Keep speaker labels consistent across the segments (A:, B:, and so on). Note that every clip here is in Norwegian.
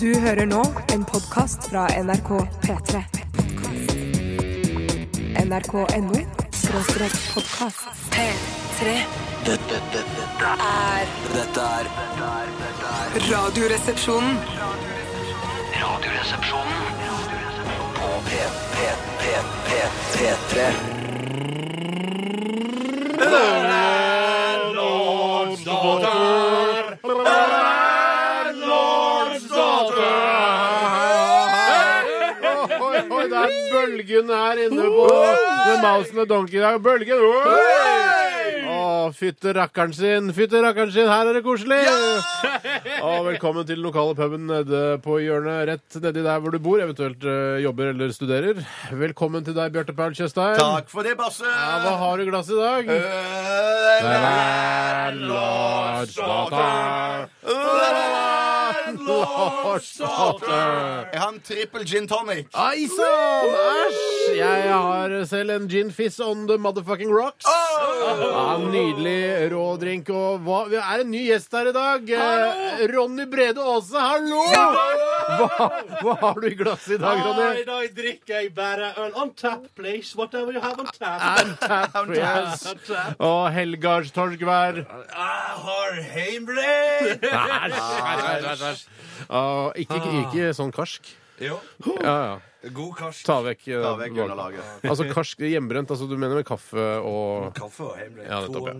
A: Du hører nå en podkast fra NRK P3. NRK.no skråstrek podkast. P3.
B: Dette, dette, dette,
A: er
B: dette er dette er- dette er
A: Radioresepsjonen.
B: Radioresepsjonen på P, P, P, P, P3.
C: Oi, oi, det er bølgen her inne på The Mouse and the Donkey. Det er bølgen! Oi! Å, fytte rakkeren sin, fytte rakkeren sin, her er det koselig! Og velkommen til den lokale puben nede på hjørnet, rett nedi der hvor du bor, eventuelt eh, jobber eller studerer. Velkommen til deg, Bjarte Paul Tjøstheim.
D: Takk for det, Basse!
C: Ja, hva har du i glasset i dag? Landlordsdatter. Landlordsdatter.
D: Jeg har en trippel gin tonic.
C: Ei sann! Æsj! Jeg har selv en gin fizz on the motherfucking rocks. Ja, nydelig rå drink. Og hva? Vi er en ny gjest her i dag. Eh, Ronny Brede Aase, hallo! Hva, hva har du i glasset i dag,
E: I
C: Ronny?
E: dag drikker jeg bare øl. On tap, please. Whatever you have on tap.
C: And tap Ah, yes. Og Helgars torskvær.
D: Jeg har heimbrent!
C: Ja, ikke, ikke sånn karsk.
D: Jo,
C: Ja, ja.
D: god karsk.
C: Ta vekk, eh,
D: Ta vekk
C: bak-
D: underlaget.
C: Altså karsk hjemmebrent. Altså, du mener med kaffe og
D: Kaffe og heimbrent.
C: Ja, nettopp, ja.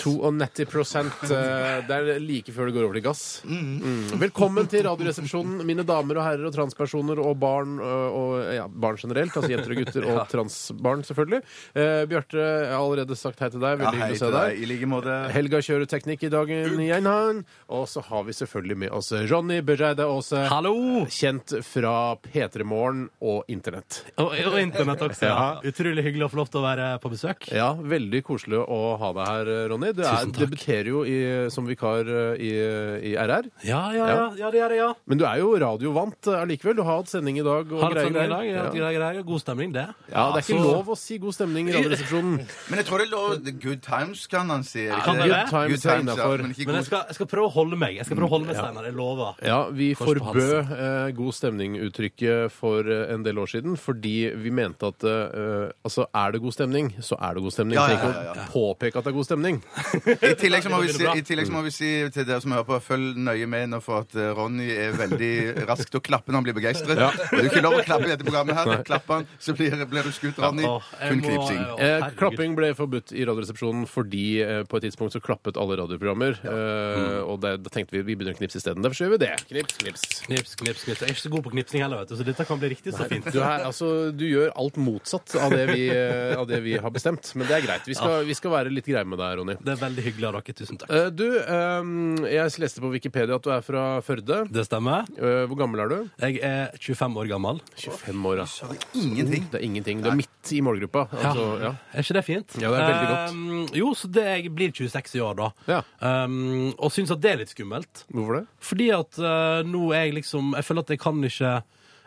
D: 92
C: 92 eh, Det er like før det går over til gass. Mm. Velkommen til Radioresepsjonen, mine damer og herrer og transpersoner og barn eh, og ja, barn generelt. Altså jenter og gutter og transbarn, selvfølgelig. Eh, Bjarte, jeg har allerede sagt hei til deg.
D: Ja,
C: Veldig
D: hei
C: hyggelig å se
D: til deg.
C: deg.
D: I like måte.
C: Helga kjører teknikk i dagen igjen, han. Og så har vi selvfølgelig med oss Ronny Børreide Aase.
F: Hallo!
C: Kjent fra P3 Morgen og Internett.
F: Og, og internett også. Ja. Utrolig hyggelig å få lov til å være på besøk.
C: Ja, veldig koselig å ha deg her, eh, Ronny. Du er,
F: Tusen takk.
C: debuterer jo i, som vikar eh, i, i RR.
F: Ja, ja, ja. ja det gjør jeg, ja.
C: Men du er jo radiovant eh, allikevel. Du har hatt sending sånn i dag. og
F: Har et
C: greier,
F: sånt i dag.
C: greier.
F: Ja. Altså-
C: Ja.
F: greier, greier. God stemning, det.
C: Ja, det er ikke
F: Så-
C: lov å si god stemning i Radioresepsjonen.
D: Men jeg tror det er lov The Good times, kan han si. er det
F: Kan
D: ikke
F: det
D: det?
F: det?
C: Good times er innenfor.
D: men ikke
F: Men jeg
D: god
F: skal, jeg skal prøve å holde meg. Jeg skal prøve å holde meg, Steinar. Jeg lover.
C: Ja, vi
F: Kors på
C: forbød eh, god stemning-uttrykket for eh, en del år siden fordi vi mente at eh, altså, er det god stemning, så er det god stemning.
D: Ja, ja,
C: Trenger
D: ja,
C: ikke
D: ja, ja.
C: å Påpeke at det er god stemning.
D: I tillegg, så må vi si,
F: Bra.
D: I tillegg så må vi si til dere som hører på, følg nøye med nå for at eh, Ronny er veldig rask til å klappe når han blir begeistret. Det er jo ikke lov å klappe i dette programmet her. Klapper han, så blir, blir du skutt, Ronny.
F: Åh, jeg
D: Kun
F: må-
D: knipsing.
F: Å,
C: Eh,
F: herregud.
C: klapping ble forbudt i Radioresepsjonen fordi eh, på et tidspunkt så klappet alle radioprogrammer. Eh, og det, da tenkte vi vi begynner å knipse isteden. Derfor så gjør vi det. Knips, knips.
F: Knips, knips, knips. Jeg er ikke så god på knipsing heller, vet du, så dette kan bli riktig så fint.
C: Du, er, altså, du gjør alt motsatt av det, vi, eh, av det vi har bestemt. Men det er greit. Vi skal, vi skal være litt greie med deg, Ronny.
F: Det er veldig hyggelig av dere. Tusen takk.
C: Eh, du, eh, jeg leste på Wikipedia at du er fra Førde.
F: Det stemmer.
C: Eh, hvor gammel er du?
F: Jeg er 25 år gammel.
C: 25 år, ja.
D: Ingenting.
C: Det er ingenting. Du er midt i målgruppa. Altså, ja.
F: Er ikke det fint?
C: Ja, det er veldig godt.
F: Um, jo, så det, jeg blir 26 i år, da.
C: Ja.
F: Um, og syns at det er litt skummelt.
C: Hvorfor det?
F: Fordi at eh, nå er jeg liksom Jeg føler at jeg kan ikke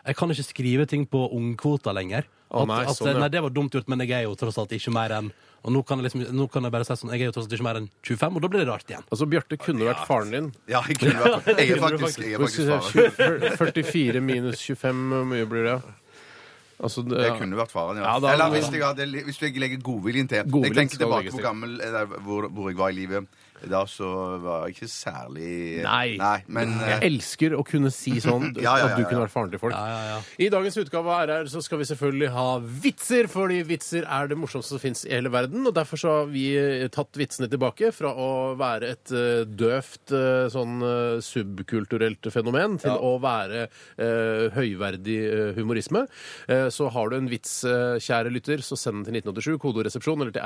F: Jeg kan ikke skrive ting på ungkvota lenger.
C: Å,
F: At-
C: nei,
F: at,
C: sånn, ja.
F: nei, det var dumt gjort, men jeg er jo tross alt ikke mer enn Og nå kan jeg liksom Nå kan jeg bare si sånn Jeg er jo tross alt ikke mer enn 25, og da blir det rart igjen.
C: Altså, Bjarte kunne vært faren din.
D: Ja, jeg, kunne vært, jeg er faktisk, jeg er faktisk faren.
C: 44 minus 25, hvor mye blir det? Altså, det,
D: Jeg kunne vært faren, ja.
C: Ja, da-
D: Eller hvis jeg, hadde, hvis jeg legger godviljen til.
C: Godviljen
D: jeg tenker
C: skal
D: tilbake
C: legges
D: på
C: til.
D: gammel, eller, hvor, hvor jeg var i livet. Da så var jeg ikke særlig
C: Nei.
D: men eh,
C: Jeg elsker å kunne si sånn
D: Ja, ja, ja,
C: at du
D: ja.
C: kunne vært faren til folk.
F: ja, ja.
C: I dagens utgave av RR så skal vi selvfølgelig ha vitser, fordi vitser er det morsomste som fins i hele verden. Og derfor så har vi eh, tatt vitsene tilbake fra å være et eh, døvt eh, sånn eh, subkulturelt fenomen til å være eh, høyverdig eh, humorisme. Eh, så har du en vits, eh, kjære lytter, så send den til 1987, kodoresepsjon, eller til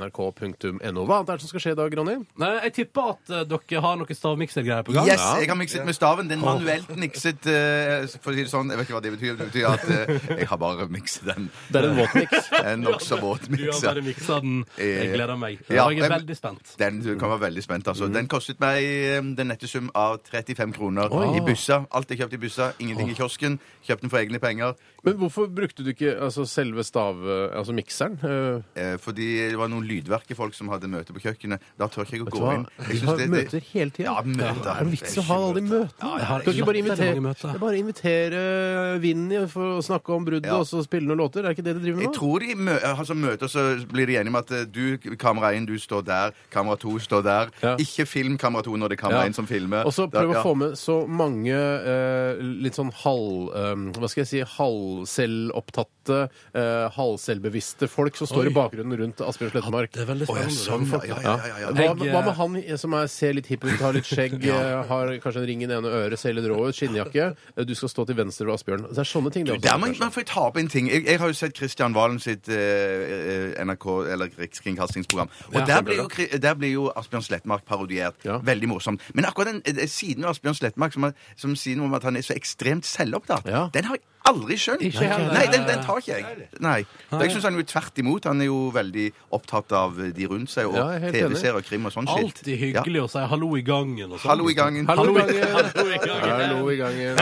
C: rrkrøllalfa.nrk.no. Hva annet er det som skal skje i dag, Ronny?
F: Nei, jeg tipper at eh, dere har noen stavmiksergreier på gang.
D: Yes, jeg har mikset med staven. Den manuelt mikset, eh, for å si det sånn. Jeg vet ikke hva det betyr. Det betyr at eh, jeg har bare mikset den. Eh,
C: Det er en våtmiks.
D: En nokså våt
F: Du har
D: mikser.
F: bare miksa den. Jeg
D: Eh,
F: gleder meg.
D: ja,
F: og jeg er
D: jeg-
F: veldig spent.
D: Den du kan være veldig spent,
C: Mm.
D: altså. Den kostet meg eh, den nette sum av 35 kroner
C: Oi.
D: i byssa. Alt jeg kjøpte i byssa. Ingenting i kiosken. Kjøpte den for egne penger.
C: Men hvorfor brukte du ikke altså, selve stav... Altså mikseren? Eh,
D: Eh, fordi det var noen lydverkefolk som hadde møte på kjøkkenet. Da tør ikke jeg jo
C: Vet du
D: gå
C: hva?
D: inn.
C: Vi
D: synes
C: har
D: det-
C: møter hele tiden.
D: Ja, møter.
C: Er det vits å ha alle de møtene? Kan ikke bare
F: latterlig mange
C: invitere,
F: møter.
C: det er bare invitere Vinni for å snakke om bruddet
D: Ja.
C: og så spille noen låter? Er det ikke det de driver
D: Jeg
C: med nå?
D: tror de mø altså møter, så blir de enige om at eh, du, kamera 1, du står der, kamera 2 står der.
C: Ja.
D: Ikke film kamera 2 når det er kamera
C: Ja.
D: 1 som filmer.
C: Og så
D: Da-
C: prøv å
D: ja.
C: få med så mange eh, litt sånn halv... eh, hva skal jeg si? Halvselvopptatte, eh, halvselvbevisste folk som står i bakgrunnen rundt Asbjørn Slettemark.
F: Det er veldig
D: Å, ja,
F: spennende.
D: sånn, ja, ja, ja, ja, ja.
C: Hva,
F: Jeg,
C: hva med han i- som er, ser litt hipp ut, har litt skjegg, eh, har kanskje en ring i det ene øret, ser litt rå ut, skinnjakke? eh, Du skal stå til venstre ved Asbjørn. Det er sånne ting. Det,
D: Der
C: også,
D: må man får ta opp en ting. Jeg, jeg har jo sett Kristian Valen sitt eh, eh, NRK, eller Rikskringkastingsprogram. Og
F: Ja,
D: der,
F: stemmer
D: blir jo, Kri- der blir jo Asbjørn Slettmark parodiert.
C: Ja.
D: Veldig morsomt. Men akkurat den eh, siden med Asbjørn Slettmark som, er- som sier noe om at han er så ekstremt selvopptatt,
C: Ja.
D: den har jeg aldri skjønt.
C: Ikke heller.
D: Nei, den, den tar ikke jeg. Nei. Jeg syns han er jo tvert imot. Han er jo veldig opptatt av de rundt seg, og
C: Ja, jeg er helt enig.
D: TV-serier og krim og sånn shit.
F: Alltid hyggelig å si hallo i gangen og
D: Ja.
F: sånn.
D: Hallo i gangen.
C: Hallo i gangen.
F: Hallo i gangen.
C: Hallo i gangen.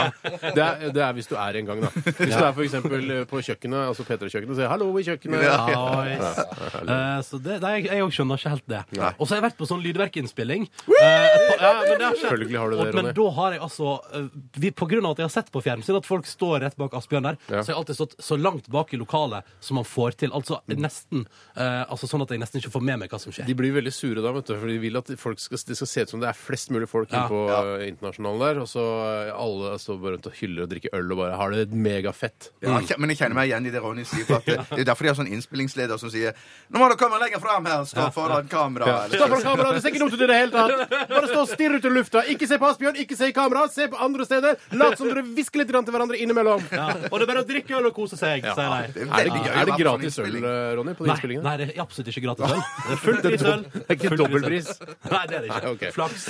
C: Det er, det er hvis du er en gang, da. Hvis du er for eksempel eh, på kjøkkenet, altså P3-kjøkkenet, så sier jeg 'hallo i kjøkkenet'.
D: Ja.
F: Nice. Eh, så det, nei, jeg- jeg òg skjønner ikke helt det.
D: Nei.
F: Og så har jeg vært på sånn lydverkinnspilling. Eh, et par- ja, men det har skjedd.
C: Selvfølgelig har du det,
F: Og- Men
C: Ronny.
F: da har jeg altså eh, vi, På grunn av at jeg har sett på fjernsyn at folk står rett bak Asbjørn der,
C: Ja.
F: så har jeg alltid stått så langt bak i lokalet som man får til. Altså nesten eh, altså sånn at jeg nesten ikke får med meg hva som skjer.
C: Mm. De blir veldig sure da, vet du, for de vil at folk skal, det skal se ut som det er flest mulig folk inne
F: Ja.
C: på eh, internasjonalen der. Og så eh, alle står bare rundt og hyller og drikker øl og bare har det megafett.
D: Ja, jeg kjen- men jeg kjenner meg igjen i det Ronny sier. For at det, det er derfor de har sånn innspillingsleder som sier Nå må dere komme lenger fram her! Stå foran kamera! eller sånn.
C: Stå
D: så-
C: foran kamera, det ser ikke dumt ut i det hele tatt! Bare stå og stirr ut i lufta. Ikke se på Asbjørn, ikke se i kamera, se på andre steder. Lat som dere hvisker litt grann til hverandre innimellom.
F: Ja. Og det er bare å drikke øl og kose seg, sier de.
D: Det
C: Er det,
D: veldig gøy å
C: er det
D: være på sånn
C: gratis øl,
D: innspilling.
C: eh, Ronny, på de
F: Nei,
C: innspillingene?
F: nei, det er absolutt ikke gratis øl. Det er fullt pris øl.
C: Det er ikke
F: Full pris øl.
C: dobbeltpris.
F: Nei, det er det ikke.
C: Nei, ok.
F: Flaks.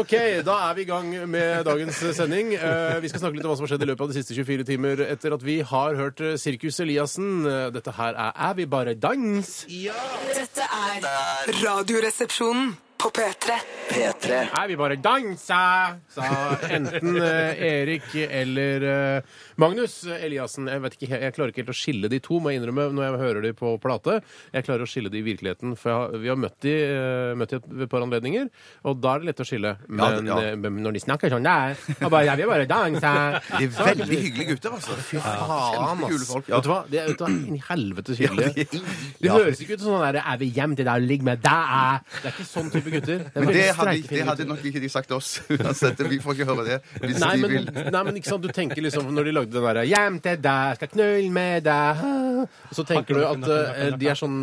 C: Ok, da er vi i gang med dagens sending. Eh, vi skal snakke litt om hva som har skjedd i løpet av de siste 24 timer etter at vi har hørt eh, Sirkus Eliassen. Eh, Dette her er Er vi bare dans?
G: Dette er Radioresepsjonen på P3.
B: P3
C: Er vi bare dansa? Sa enten eh, Erik eller eh, Magnus Eliassen. Jeg, vet ikke, he- jeg klarer ikke helt å skille de to, må jeg innrømme, når jeg hører de på plate. Jeg klarer å skille de i virkeligheten, for jeg har, vi har møtt de, eh, møtt de ved et par anledninger, og da er det lett å skille.
D: Ja, det-
C: Men,
D: ja.
C: eh, men når de snakker sånn der, og bare, er vi bare dansa?
D: De er veldig hyggelige gutter, altså. Fy faen,
C: Kjempekule
D: ass.
C: folk. Vet du hva? De er vet du hva? Inn i helvetes hyggelige.
D: Ja,
C: De høres ikke ut som sånn der, er vi hjem til deg og ligg med deg? Det er ikke sånn type gutter. Det er
D: Men
C: veldig
D: det hadde,
C: streikefine
D: det
C: gutter.
D: hadde nok ikke de sagt til oss. Uansett, vi får ikke høre det. Hvis
C: Nei
D: de
C: men,
D: vil.
C: nei, men ikke sant, du tenker liksom Når de lagde den derre 'Hjem til deg, skal knulle med deg' Og Så tenker du at eh, de er sånn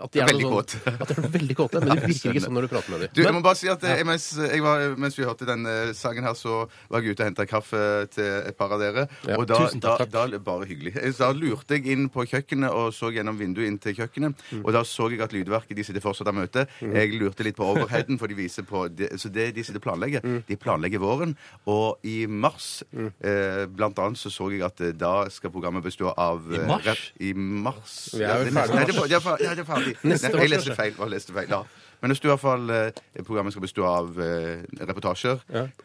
C: at de er
D: Veldig
C: sånn,
D: kåte.
C: At de er veldig kåte, men det virker ikke sånn når du prater med
D: Du, jeg
C: dem.
D: må bare si at eh, mens, jeg var, mens vi hørte den eh, sangen her, så var jeg ute og henta kaffe til et par av dere.
C: Ja,
D: Og da,
C: tusen takk,
D: da, da Bare hyggelig. Eh, Da lurte jeg inn på kjøkkenet og så gjennom vinduet inn til kjøkkenet.
C: Mm.
D: Og da så jeg at Lydverket de sitter fortsatt og møter. Jeg lurte litt på overheaden, for de viser på de, Så det de sitter og planlegger,
C: Mm.
D: de planlegger våren. Og i mars, eh, blant annet, så så jeg at eh, da skal programmet bestå av eh,
F: I mars?
D: rep- I mars.
C: Vi er
D: Ja,
C: jo
D: det
C: ferdig med
D: Nei, det er fa- det er fa- ja, det er ferdig.
C: Neste
D: Nei,
C: år,
D: Jeg leste feil. Jeg leste feil ja. Men hvis du i hvert fall eh, programmet skal bestå av eh, reportasjer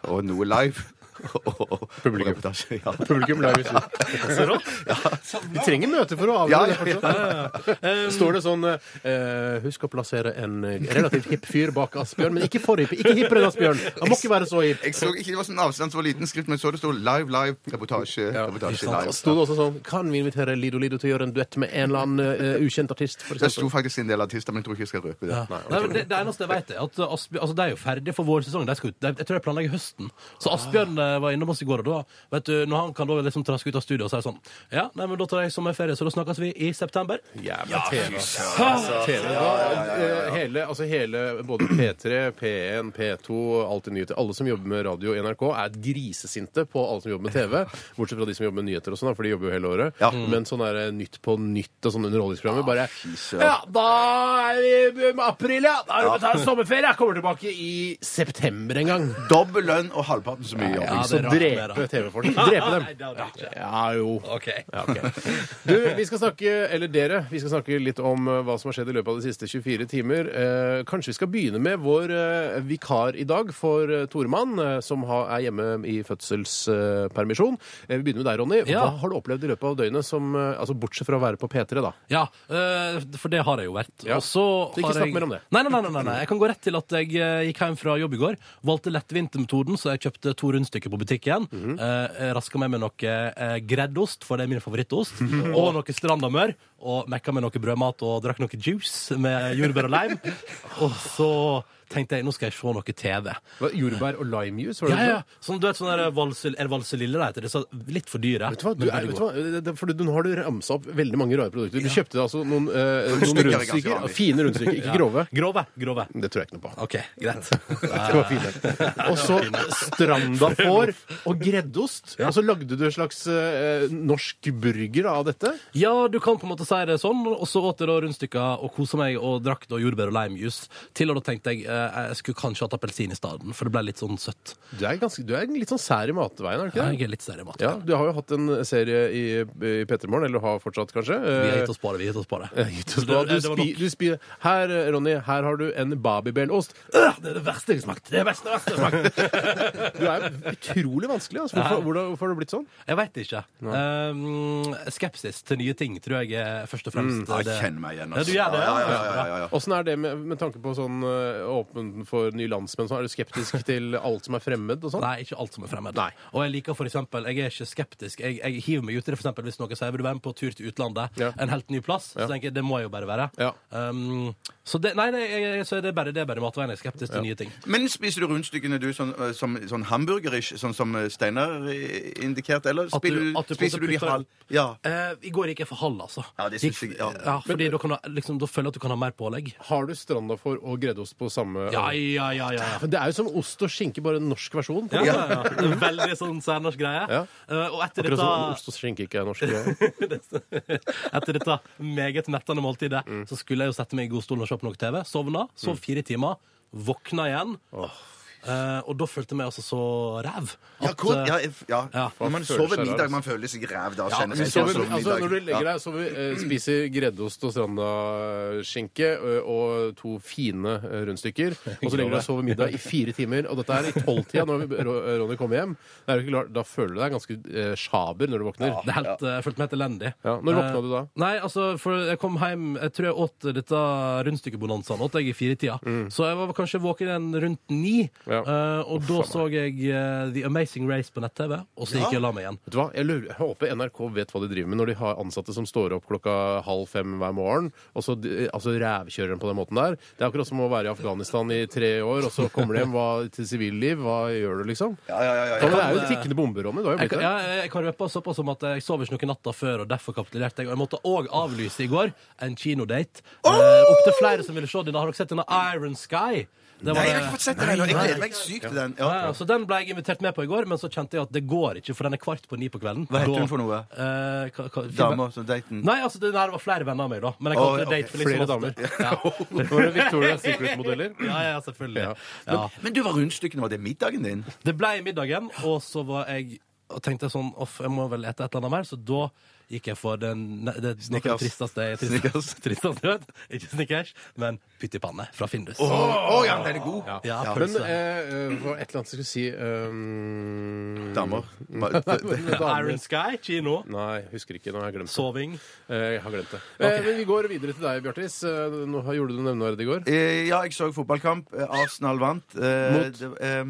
D: og noe live og, og,
C: Publikum.
D: og reportasje, ja.
C: Publikum lar vi Så rått. Vi trenger møte for å
D: Ja,
C: avgjøre det
D: ja, ja.
C: fortsatt. Står det sånn eh, Husk å plassere en eh, relativt hipp fyr bak Asbjørn, men ikke for hipp. Ikke hippere enn Asbjørn. Han må ikke være så hipp.
D: Jeg så ikke det var sånn avstand som var liten skrift, men så det stod live, live, reportasje, reportasje,
C: Og Sto
D: live.
C: det også sånn Kan vi invitere Lido Lido til å gjøre en duett med en eller annen eh, ukjent artist? For
D: Det
C: eksempel?
D: sto faktisk en del artister, men jeg tror ikke jeg skal røpe det. Nei,
F: Nei, men det, det eneste jeg vet, er at Asbjørn, altså, de er jo ferdige for vårsesongen. De skal ut. De, jeg tror de planlegger høsten. Så Asbjørn eh, var innom oss i går, og da vet du, når han kan da liksom traske ut av studio og si sånn Ja, nei, men da tar jeg sommerferie, så da snakkes vi i september.
C: Jævla TV. TV da, eh, Hele, altså hele både P3, P1, P2, Alltid nyheter Alle som jobber med radio i NRK, er grisesinte på alle som jobber med TV. Bortsett fra de som jobber med nyheter, og sånn, da, for de jobber jo hele året.
D: Ja.
C: Men sånn er det Nytt på nytt og sånne underholdningsprogrammer bare Ja, da er vi i um, april, ja! Da er det å ta en sommerferie! Jeg kommer tilbake i september en gang.
D: Dobbel lønn og halvparten så mye jobb. Ah,
F: Ja,
C: Netflix
F: det
C: og
F: er rart med
C: drepe
F: det.
C: TV-folk. Drepe
F: Nei, det
C: dem.
F: hadde jeg ikke.
C: Ja, jo.
F: OK.
C: Ja, ok. Du, vi skal snakke, eller dere, vi skal snakke litt om eh, hva som har skjedd i løpet av de siste 24 timer. Eh, kanskje vi skal begynne med vår eh, vikar i dag for eh, Toremann, eh, som har, er hjemme i fødselspermisjon. Eh, vi begynner med deg, Ronny.
F: Ja.
C: Hva har du opplevd i løpet av døgnet, som, eh, altså bortsett fra å være på P3, da?
F: Ja, øh, for det har jeg jo vært.
C: Ja.
F: Og så
C: Så ikke
F: har
C: snakk
F: jeg-
C: mer om det.
F: Nei, nei, nei, nei, nei, nei. Jeg kan gå rett til at jeg eh, gikk hjem fra jobb i går. Valgte lettvintermetoden, så jeg kjøpte to rundstykker på butikken.
C: Mhm.
F: Mm Raska meg med noe eh, greddost, for det er min favorittost. Og noe strandamør. Og mekka med noe brødmat og drakk noe juice med jordbær og lime. og så tenkte jeg nå skal jeg se noe TV.
C: Hva, jordbær og limejuice? var det
F: Ja,
C: du
F: ja.
C: sa?
F: Sånn, du vet, sånn der valse, er det valselille det heter? Det er så litt for dyre.
C: Vet du hva? Du,
F: men
C: er,
F: veldig
C: vet du
F: gode.
C: hva? Det- det- For du, nå har du ramsa opp veldig mange rare produkter. Du kjøpte altså noen, eh, noen
D: Rundstykker er ganske
C: rundstykker.
D: vanlig.
C: Fine rundstykker, ikke grove.
F: Grove. Grove.
C: Det tror jeg ikke noe på.
F: OK, greit.
C: Det var fine. Og så strandafår og greddost. Altså- Og så lagde du en slags eh, norsk burger av dette.
F: Ja, du kan på en måte si det sånn. Og så åt jeg da rundstykker og kosa meg og drakk da jordbær og limejuice. Til og da tenkte jeg eh, jeg skulle kanskje hatt appelsin i stedet, for det ble litt sånn søtt.
C: Du er, ganske, du er litt sånn sær i matveien, er du ikke
F: Jeg
C: det?
F: er litt sær
C: Ja,
F: i maten.
C: Du har jo hatt en serie i, i P3 Morgen, eller har fortsatt, kanskje.
F: Vi har
C: Eh,
F: gitt oss på det. vi har gitt oss på det.
C: gitt oss på.
F: Det-
C: Du
F: det var
C: spi,
F: nok.
C: du spi, her, Ronny, her har du en babybel-ost.
F: Øh, Det er det verste jeg har smakt! Det er det verste, verste jeg har smakt.
C: Du er utrolig vanskelig. Altså. Hvorfor, hvordan, hvorfor har du blitt sånn?
F: Jeg veit ikke. Um, skepsis til nye ting tror jeg er først og fremst
C: Mm,
D: Ja,
F: det.
D: Jeg kjenner meg igjen. altså.
F: Ja, du gjør det,
D: Ja,
F: ja.
D: ja, ja, ja, ja, ja.
C: Åssen er det med, med tanke på sånn eh, åpen for nye landsmenn? Sånn, er du skeptisk til alt som er fremmed og sånn?
F: Nei, ikke alt som er fremmed.
C: Nei.
F: Og jeg liker for eksempel, jeg er ikke skeptisk. Jeg, jeg hiver meg ut i det for eksempel, hvis noen sier vil du være med på tur til utlandet,
C: Ja.
F: en helt ny plass.
C: Ja.
F: Så tenker jeg det må jeg jo bare være.
C: Ja.
F: Um, så det, nei, nei jeg, jeg- så er det bare, det er bare matveien jeg er skeptisk til nye ting.
D: Men spiser du rundstykkene du sånn, eh, som sånn hamburgerish, sånn som eh, Steinar eh, indikerte, eller
F: At du-
D: spiller,
F: at du på en
D: spiser
F: måte
D: du de
F: putter-
D: halv? Ja.
F: Eh, I går gikk jeg for halv, altså.
D: Ja, det synes
F: Gikk-
D: jeg- ja.
F: fordi da, kan du, liksom, da føler jeg at du kan ha mer pålegg.
C: Har du strandafår og greddost på samme
F: Ja, ja, ja, ja. ja.
C: Men det er jo som ost og skinke, bare en norsk versjon.
F: Ja, ja, ja. Veldig sånn særnorsk greie.
C: Ja.
F: Eh, og
C: Akkurat
F: etter dette,
C: som ost og skinke ikke er norsk. greie.
F: etter dette meget mettende måltidet så skulle jeg jo sette meg i godstolen og se på noe TV. Sovna,
C: Mm.
F: sov fire timer, våkna igjen. Eh, og da følte jeg meg altså så ræv.
D: Ja,
F: At,
D: hvor,
F: eh,
D: ja, if- ja.
F: ja.
D: Når man
C: Man føler
D: sover
C: seg rar,
D: middag, man føler seg ræv da. kjenner
C: Men
D: jeg
C: sover,
D: selv som
C: altså,
D: middag.
C: når du legger
D: Ja.
C: deg, sover, eh, spiser greddost og strandaskinke ø, og to fine ø, rundstykker, og så legger du deg og sover middag i fire timer, og dette er i tolvtida når vi- Ro- Ronny kommer hjem, det er jo ikke klart, da føler du deg ganske eh, sjaber når du våkner.
F: Det er helt, eh, Jeg følte meg helt elendig.
C: Ja, når våkna
F: Eh,
C: du da?
F: Nei, altså, for Jeg kom hjem Jeg tror jeg åt dette rundstykkebonanzaen åt jeg i firetida. Så jeg var kanskje våken igjen rundt ni.
C: Mm. Ja.
F: eh, og da så jeg eh, The Amazing Race på nett-TV, og så gikk jeg og la meg igjen.
C: Vet du hva? Jeg, lurer, jeg håper NRK vet hva de driver med når de har ansatte som står opp klokka halv fem hver morgen, og så de- altså, rævkjører dem på den måten der. Det er akkurat som å være i Afghanistan i tre år, og så kommer de hjem hva, til sivilliv. Hva gjør du, liksom?
D: Ja, ja, ja, ja,
C: Ja, men
D: ja.
C: det er jo tikkende bomber, Ronny. Du har jo
F: Jeg
C: blitt
F: kan,
C: det.
F: ja, jeg kan røpe såpass som at jeg sov ikke noen natta før, og derfor kapitulerte jeg. Og jeg måtte òg avlyse i går en kinodate. Eh, Opptil flere som ville se denne. Har dere sett denne Iron Sky? Det var
D: Nei, jeg har
F: det-
D: ikke fått sett den ennå. Jeg gleder meg sykt til den. Ja.
F: Ja, ja, så Den ble jeg invitert med på i går, men så kjente jeg at det går ikke, for den er kvart på ni på kvelden.
D: Hva heter
F: Da-
D: hun for noe?
F: Eh, hva- hva-
D: Dama som daten.
F: Nei, altså, det der var flere venner av meg, da. Men jeg
D: Å,
F: kalte det
D: ok.
F: date for liksom
C: Flere
F: ofte. Ja.
C: Nå er det Victoria Secret-modeller.
F: Ja, ja, selvfølgelig.
C: Ja.
F: Ja.
D: Men du var rundstykkene, var det middagen din?
F: Det ble middagen, og så var jeg og tenkte sånn Off, jeg må vel ete et eller annet mer, så da gikk jeg for den, ne- det, noe av det
D: Snickers.
F: tristeste jeg
D: Snickers.
F: tristeste jeg vet. Ikke Snickers, men pyttipanne fra Findus.
D: Å, ja, den er god.
F: Ja,
C: Men
F: pølse.
C: eh, eh, hva- et eller annet jeg skulle si um,
D: Damer.
F: Iron Sky, kino,
C: Nei, husker ikke. Nå har jeg glemt det.
F: soving.
C: Eh, Jeg har glemt det. Eh, Men vi går videre til deg, Bjartis. Eh, Nå har- gjorde du noe nevneverdig i går.
D: Eh, Ja, jeg så fotballkamp. Eh, Arsenal vant. Eh,
C: Mot?
D: det, eh,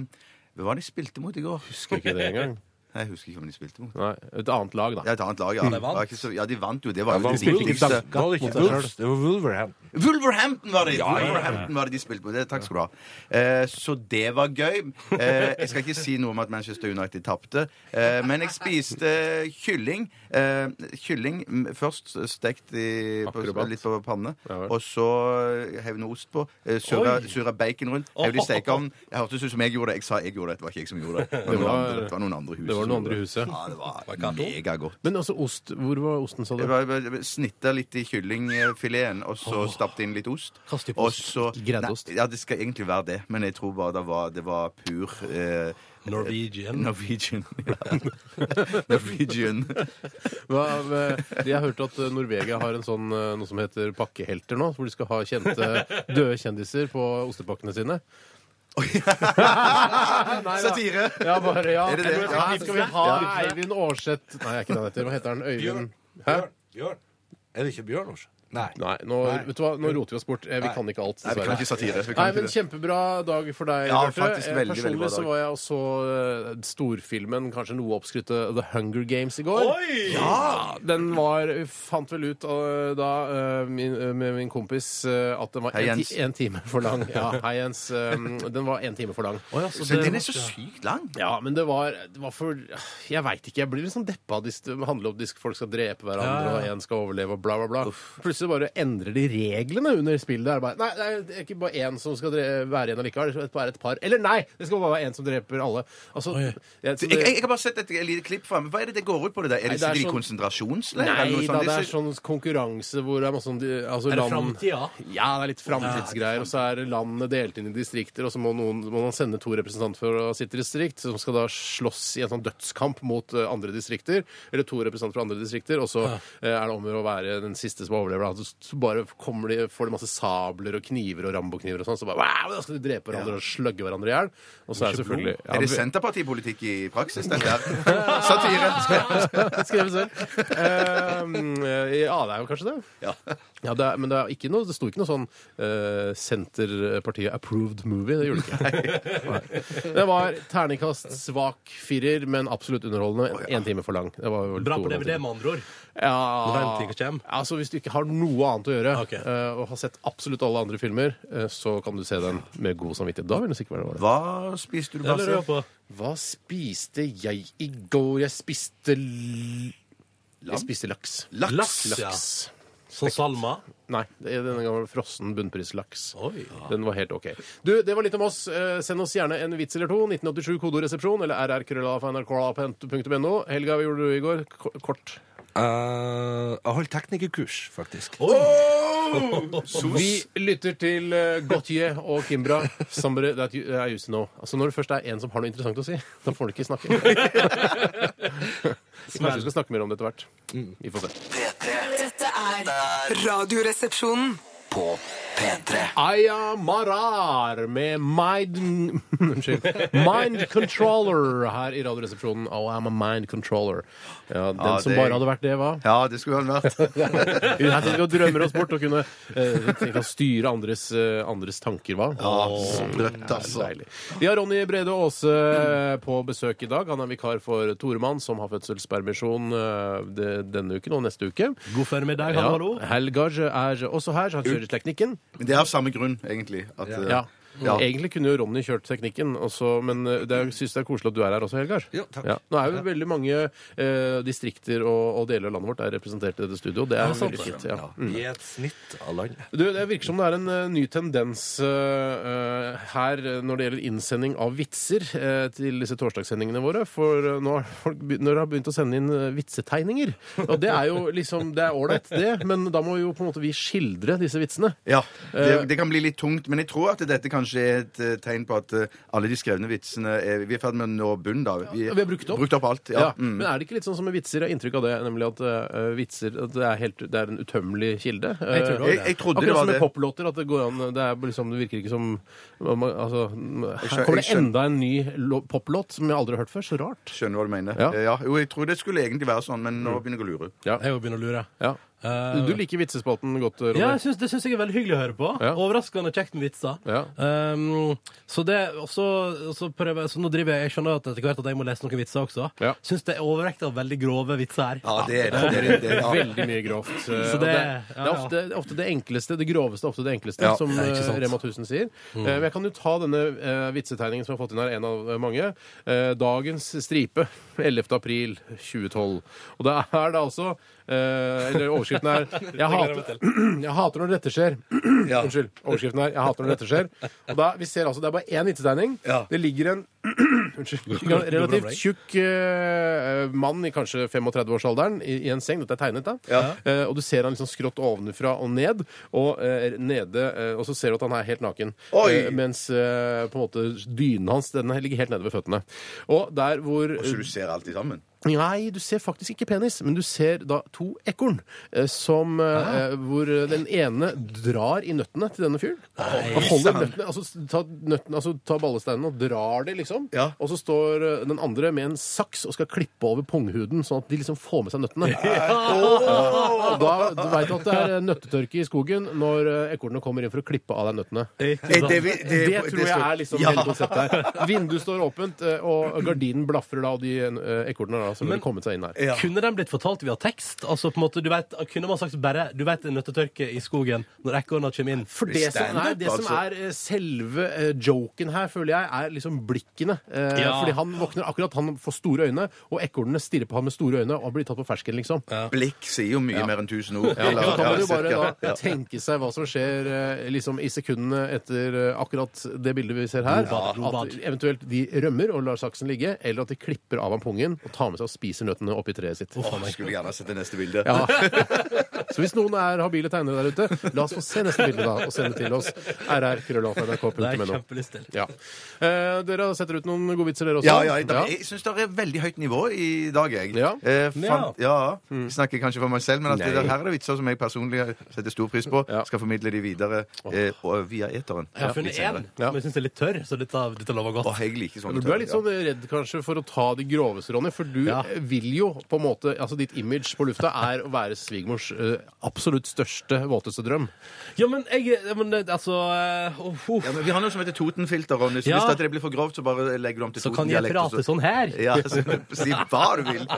D: Hvem var det de spilte mot i går?
C: Husker ikke det engang.
D: Nei, jeg husker ikke hvem de spilte mot.
C: Nei, Et annet lag, da.
D: Ja, et annet lag, ja.
F: de vant.
D: Det var ikke så, ja, de vant jo. Det var jo det viktigste.
C: Viktigste.
D: Wolverhampton var det! Wolverhampton var det de spilte mot. Det- Takk skal du ha. Eh, så det var gøy. Eh, jeg skal ikke si noe om at Manchester United tapte, eh, men jeg spiste kylling. Eh, kylling mm, først stekt i, på,
C: Akkurat.
D: litt på panne,
C: Ja vel.
D: og så hev noe ost på. Eh, surra, surra bacon rundt. Hev det i stekeovnen. Det hørtes ut som jeg gjorde det. Jeg sa jeg gjorde det, det var ikke jeg som gjorde det. Det var noen andre, det var noen andre i huset
C: Det var var noen andre i huset.
D: Ja, det var megagodt.
C: Men altså ost. Hvor var osten, sa du?
D: Det var- det var Snitta litt i kyllingfileten, og så stappet inn litt ost.
F: Kast i på
D: Og
F: ost.
D: så-
F: Greddeost.
D: Nei, Ja, det skal egentlig være det, men jeg tror bare det var, det var pur eh,
F: Norwegian.
D: Norwegian. Ja. Norwegian.
C: Hva, med- jeg hørte at eh, Norvegia har en sånn, eh, noe som heter pakkehelter nå, hvor de skal ha kjente døde kjendiser på ostepakkene sine. Nei, da.
D: Satire.
C: Ja, bare, ja.
D: Er det det?
C: Ja, her skal vi ha Eivind Aarseth Nei, er ikke det han heter. Hva heter han? Øyvind Hæ?
H: Bjørn. Bjørn. Er det ikke Bjørn, Lars? Nei.
C: Nei, nå, vet du hva? nå roter vi oss bort. Eh, Vi kan ikke alt,
D: Nei, vi kan ikke satire.
C: Nei,
D: Vi kan
C: men
D: ikke det.
C: Kjempebra dag for deg.
D: Ja,
C: Bjarte.
D: faktisk
C: Eh,
D: veldig,
C: Personlig
D: veldig bra
C: så
D: dag.
C: var jeg og så eh, storfilmen, kanskje noe oppskrytte, The Hunger Games i går.
H: Oi!
C: Ja, den var Fant vel ut eh, da eh, min, eh, med min kompis eh, at den var
D: Hei,
C: en,
D: Jens.
C: ti, en time for lang. Ja, hei, Jens. Eh, Den var en time for lang.
F: Å, ja, så
D: Så
F: det-
D: den er så sykt lang.
C: Ja, men det var, det var for Jeg veit ikke. Jeg blir litt sånn deppa. hvis Det handler om at folk skal drepe hverandre,
F: Ja, ja.
C: og én skal overleve, og bla, bla, bla. Plutselig bare endrer de reglene under spillet. Er det bare, nei, nei, det er ikke bare én som skal dre være igjen allikevel. Det skal være et par. Eller nei! Det skal bare være én som dreper alle. Altså,
F: Oi.
C: jeg, så
D: Jeg, jeg, jeg har bare sett et lite klipp fra men Hva er det det går ut på? det der? Er
C: Nei, det
D: det,
C: er
D: sikkert i
C: sånn-
D: konsentrasjonsleir? eller noe
C: Nei da,
D: sånt?
C: det er
D: ser-
C: sånn konkurranse hvor det er masse sånn altså
F: Er det
C: land-
F: framtida?
C: Ja, det er litt framtidsgreier. Og så er landet delt inn i distrikter, og så må, noen, må man sende to representanter fra sitt distrikt, som skal da slåss i en sånn dødskamp mot eh, andre distrikter. Eller to representanter fra andre distrikter, og så eh, er det om å gjøre å være den siste som overlever. da. Så- Så bare kommer de, får de masse sabler og kniver og rambokniver og sånn, så bare wow, da skal de drepe hverandre og slugge hverandre i hjel. Og så er det selvfølgelig
D: Er det
C: Ja,
D: Senterpartipolitikk i praksis, dette her? Satire.
C: Skrevet selv. Ehm, eh, ja, det er jo kanskje det. Ja. det er, men det, er ikke noe, det sto ikke noe sånn eh, Senterpartiet approved movie. Det gjorde det ikke. Nei. Det var terningkast svak firer, men absolutt underholdende. Én time for lang. Det var vel
F: Bra
C: to
F: på
C: og en halv
F: DVD,
C: time.
F: med andre ord.
C: Ja,
F: Når den tiden kommer.
C: altså Hvis du ikke har noe annet å gjøre,
F: Ok.
C: eh, og har sett absolutt alle andre filmer, eh, så kan du se den med god samvittighet. Da vil du sikkert være det.
D: Hva spiste du,
F: Det lurer
D: Basse?
F: jeg på.
C: Hva spiste jeg i går? Jeg spiste l... Jeg spiste laks.
F: Laks, ja.
C: Laks.
F: Som Salma.
C: Nei, det er denne gangen frossen bunnprislaks.
F: Oi.
C: Den var helt OK. Du, det var litt om oss. Eh, Send oss gjerne en vits eller to. 1987 kodoresepsjon eller rrkrøllalfa.nrk.no. Helga, hva gjorde du i går? Ko- Kort.
H: Eh, jeg holdt teknikerkurs, faktisk.
C: Vi lytter til eh, Gautier og Kimbra. Somebody that you, I used to know. Altså, når det først er en som har noe interessant å si, da får du ikke snakke. Kanskje du skal snakke mer om det etter hvert. Vi får se.
G: Dette er Radioresepsjonen.
C: Aya Marar med Mind Unnskyld. Mind Controller her i Radioresepsjonen. Oh, I'm a mind controller. Ja, den
D: Ja,
C: som
D: det-
C: bare hadde vært det, hva?
D: Ja, det skulle han vært.
C: Her sitter vi og drømmer oss bort og kunne eh, tenke å styre andres, eh, andres tanker, hva?
D: Sprøtt, altså.
C: Deilig. Vi har Ronny Brede Aase eh, på besøk i dag. Han er vikar for Toremann, som har fødselspermisjon eh, det- denne uken og neste uke.
F: God formiddag,
C: Ja,
F: hallo.
C: Helgar er også her, så han kjører teknikken.
D: Men det er av samme grunn, egentlig. At, eh,
C: Ja.
D: Ja.
C: Egentlig kunne jo Ronny kjørt teknikken, også, men eh, det er, synes det er koselig at du er her også, Helgar.
H: Ja, takk.
C: Nå er jo veldig mange eh, distrikter og, og deler av landet vårt er representert i dette studioet. Det er veldig fint. Ja. Mm.
H: I et snitt av landet.
C: Du, det virker som det er en eh, ny tendens eh, eh, her eh, når det gjelder innsending av vitser eh, til disse torsdagssendingene våre. For eh, nå har folk begynt, når de har begynt å sende inn eh, vitsetegninger. Og det er jo liksom Det er ålreit, det, men da må jo på en måte vi skildre disse vitsene.
D: Ja,
C: Eh.
D: det, det kan bli litt tungt, men jeg tror at dette kanskje er et eh, tegn på at eh, alle de skrevne vitsene er, Vi er i ferd med å nå bunnen, da. Vi,
C: vi har brukt opp.
D: alt.
C: Ja,
D: Ja. Mm.
C: Men er det ikke litt sånn som med vitser? Jeg har inntrykk av det, nemlig at eh, vitser at det, er helt, det er en utømmelig kilde.
F: Jeg tror det var
D: Jeg, jeg trodde det
C: Akkurat
D: var
C: som med
D: det.
C: poplåter, at det går an Det, er liksom, det virker ikke som altså, Her
D: skjø-
C: kommer det
D: jeg skjø-
C: enda en ny lo- poplåt som jeg aldri har hørt før. Så rart.
D: Skjønner hva du mener.
C: Ja. Mm.
D: Eh, Ja. Jo, jeg tror det skulle egentlig være sånn, men nå begynner jeg å lure.
F: Jeg jo begynner å lure.
C: Ja.
F: Eh,
C: Du liker vitsespalten godt, Ronny.
F: Ja, jeg synes, det syns jeg er veldig hyggelig å høre på.
C: Ja.
F: Overraskende kjekt med vitser.
C: Ja.
F: Um, så det, og så- og så prøver jeg, så nå driver jeg, jeg skjønner at etter hvert at jeg må lese noen vitser også.
C: Ja.
F: Syns det er overvekta av veldig grove vitser her.
D: Ja, det er det. det, er, det, er, ja.
C: Veldig mye grovt. eh,
F: Så
C: og
F: det-
C: det, det
F: ja,
C: er
F: ja.
C: ofte, ofte det enkleste, det groveste, ofte det enkleste,
D: Ja,
C: som
F: det er ikke
C: eh,
F: sant.
C: Rema 1000 sier. Eh, Men jeg kan jo ta denne eh, vitsetegningen som jeg har fått inn her, en av eh, mange. Eh, Dagens stripe, 11. april 2012. Og det er da altså eh, Eller overskriften er jeg hater, jeg hater når dette skjer. Unnskyld. Overskriften er 'Jeg hater når dette skjer'. Og da, Vi ser altså, Det er bare én vitsetegning.
H: Ja.
C: Det ligger en Unnskyld. Relativt tjukk eh, mann i kanskje 35-årsalderen i, i en seng. Dette er tegnet, da. Eh, og du ser han liksom skrått ovenfra og ned, og eh, nede eh, Og så ser du at han er helt naken.
D: Oi!
C: Eh, mens eh, på en måte dynen hans den ligger helt nede ved føttene. Og der hvor
D: Så du ser alt i sammen?
C: Nei, du ser faktisk ikke penis, men du ser da to ekorn eh, som eh, Hvor eh, den ene drar i nøttene til denne fyren. Han holder nøttene, altså s- tar nøttene, altså tar ballesteinene og drar de, liksom.
D: Ja.
C: Og så står eh, den andre med en saks og skal klippe over punghuden, sånn at de liksom får med seg nøttene. Og Da du vet du at det er eh, nøttetørke i skogen når eh, ekornene kommer inn for å klippe av deg nøttene.
D: Eh,
F: sånn.
D: det vi-
C: Det, tror jeg er liksom
D: Ja.
C: hele konseptet her. Vinduet står åpent, eh, og gardinen blafrer da, og de eh, ekornene har da selvfølgelig
F: Men-
C: kommet seg inn her.
D: Ja.
F: Kunne den blitt fortalt via tekst? Altså på en måte, du vet, Kunne man sagt bare Du vet nøttetørke i skogen når ekorna kommer inn?
C: For det som,
D: Stand-up,
C: nei, det som
D: altså.
C: er eh, selve eh, joken her, føler jeg, er liksom blikkene. Eh,
F: Ja.
C: Fordi han våkner akkurat, han får store øyne, og ekornene stirrer på han med store øyne, og han blir tatt på fersken, liksom.
D: Blikk sier jo mye mer enn tusen ord.
C: Ja, så kan man jo
D: cirka.
C: bare da
D: Ja.
C: tenke seg hva som skjer eh, liksom i sekundene etter eh, akkurat det bildet vi ser her.
F: Blodbad, blodbad.
C: At eventuelt de rømmer og lar saksen ligge, eller at de klipper av ham pungen og tar med seg og spiser nøttene oppi treet sitt.
D: Åh, Skulle gjerne sett det neste bildet.
C: Ja. Så hvis noen er habile tegnere der ute, la oss få se neste bilde da, og sende til oss.
F: Det er jeg
C: rr.nrk.no.
F: kjempelyst til.
C: Ja. Eh, dere setter ut noen gode vitser, dere også?
D: Ja, ja, i dag- jeg syns det er veldig høyt nivå i dag, jeg.
C: Ja. Mm.
D: Eh, fant, ja. Jeg Snakker kanskje for meg selv, men at det, der- her er det vitser som jeg personlig setter stor pris på.
C: Ja.
D: Skal formidle de videre eh, og via eteren.
F: Jeg har funnet én,
C: Ja.
F: men jeg syns den er litt tørr, så dette, dette lover godt.
D: Åh, jeg liker sånne
C: Men Du er litt sånn redd kanskje for å ta de groveste, Ronny, for du
F: Ja.
C: eh, vil jo på en måte Altså ditt image på lufta er å være svigermors eh, absolutt største, våteste drøm.
F: Ja, men jeg ja, men, det- Altså eh, uff, uff.
D: Ja, men vi har noe som heter Totenfilter, Ronny. Så
F: Ja.
D: hvis at det blir for grovt, så bare legger du om til
F: Så kan jeg
D: Toten-dialekt. og
F: prate sånn her?
D: Ja, så, si hva du vil.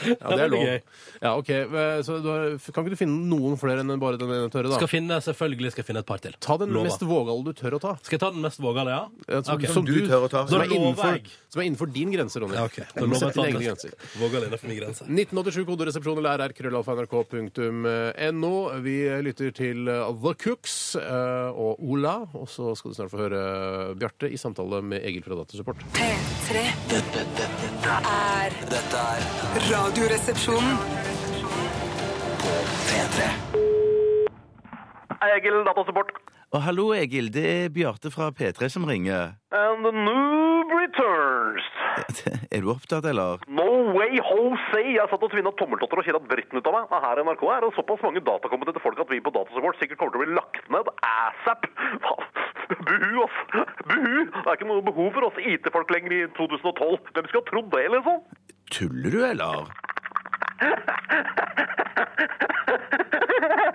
C: Ja, det er lov.
F: gøy.
C: Ja, ok. Eh, Så du har, kan ikke du finne noen flere enn bare den ene tørre, da?
F: Skal finne, selvfølgelig skal jeg finne et par til.
C: Ta den
F: Lover.
C: mest vågale du tør å ta.
F: Skal jeg ta den mest vågale, ja?
C: Eh, Som,
F: Ok.
C: som
D: Du tør å ta.
C: Som
F: Da
C: er
F: lover
C: innenfor,
F: jeg.
C: som er innenfor din grense, Ronny.
F: Ja, ok. Da
C: Du må
F: lover jeg
C: sette
F: ta
C: dine
F: den
C: egne
F: mest
C: grenser.
F: vågale innenfor min grense.
C: 1987 koderesepsjon eller rr.krøllalfa.nrk.no. Vi lytter til eh, The Cooks eh, og Ola, og så skal du snart få høre uh, Bjarte i samtale med Egil fra Dattersupport.
G: P3
B: Dette, dette, dette
G: er
B: er- dette er
G: radioresepsjonen.
B: P3.
I: Egil, datasupport.
D: Og hallo, Egil. Det er Bjarte fra P3 som ringer.
I: And the noob returns.
D: Er du opptatt, eller?
I: No way, Jose! Jeg satt og tvinna tommeltotter og kjeda dritten ut av meg. Og her i NRK er det såpass mange datakompetente folk at vi på Datasupport sikkert kommer til å bli lagt ned asap. Hva? Buhu, ass! Buhu! Det er ikke noe behov for oss IT-folk lenger i 2012. Hvem skulle ha trodd det, liksom?
D: Tuller du, eller?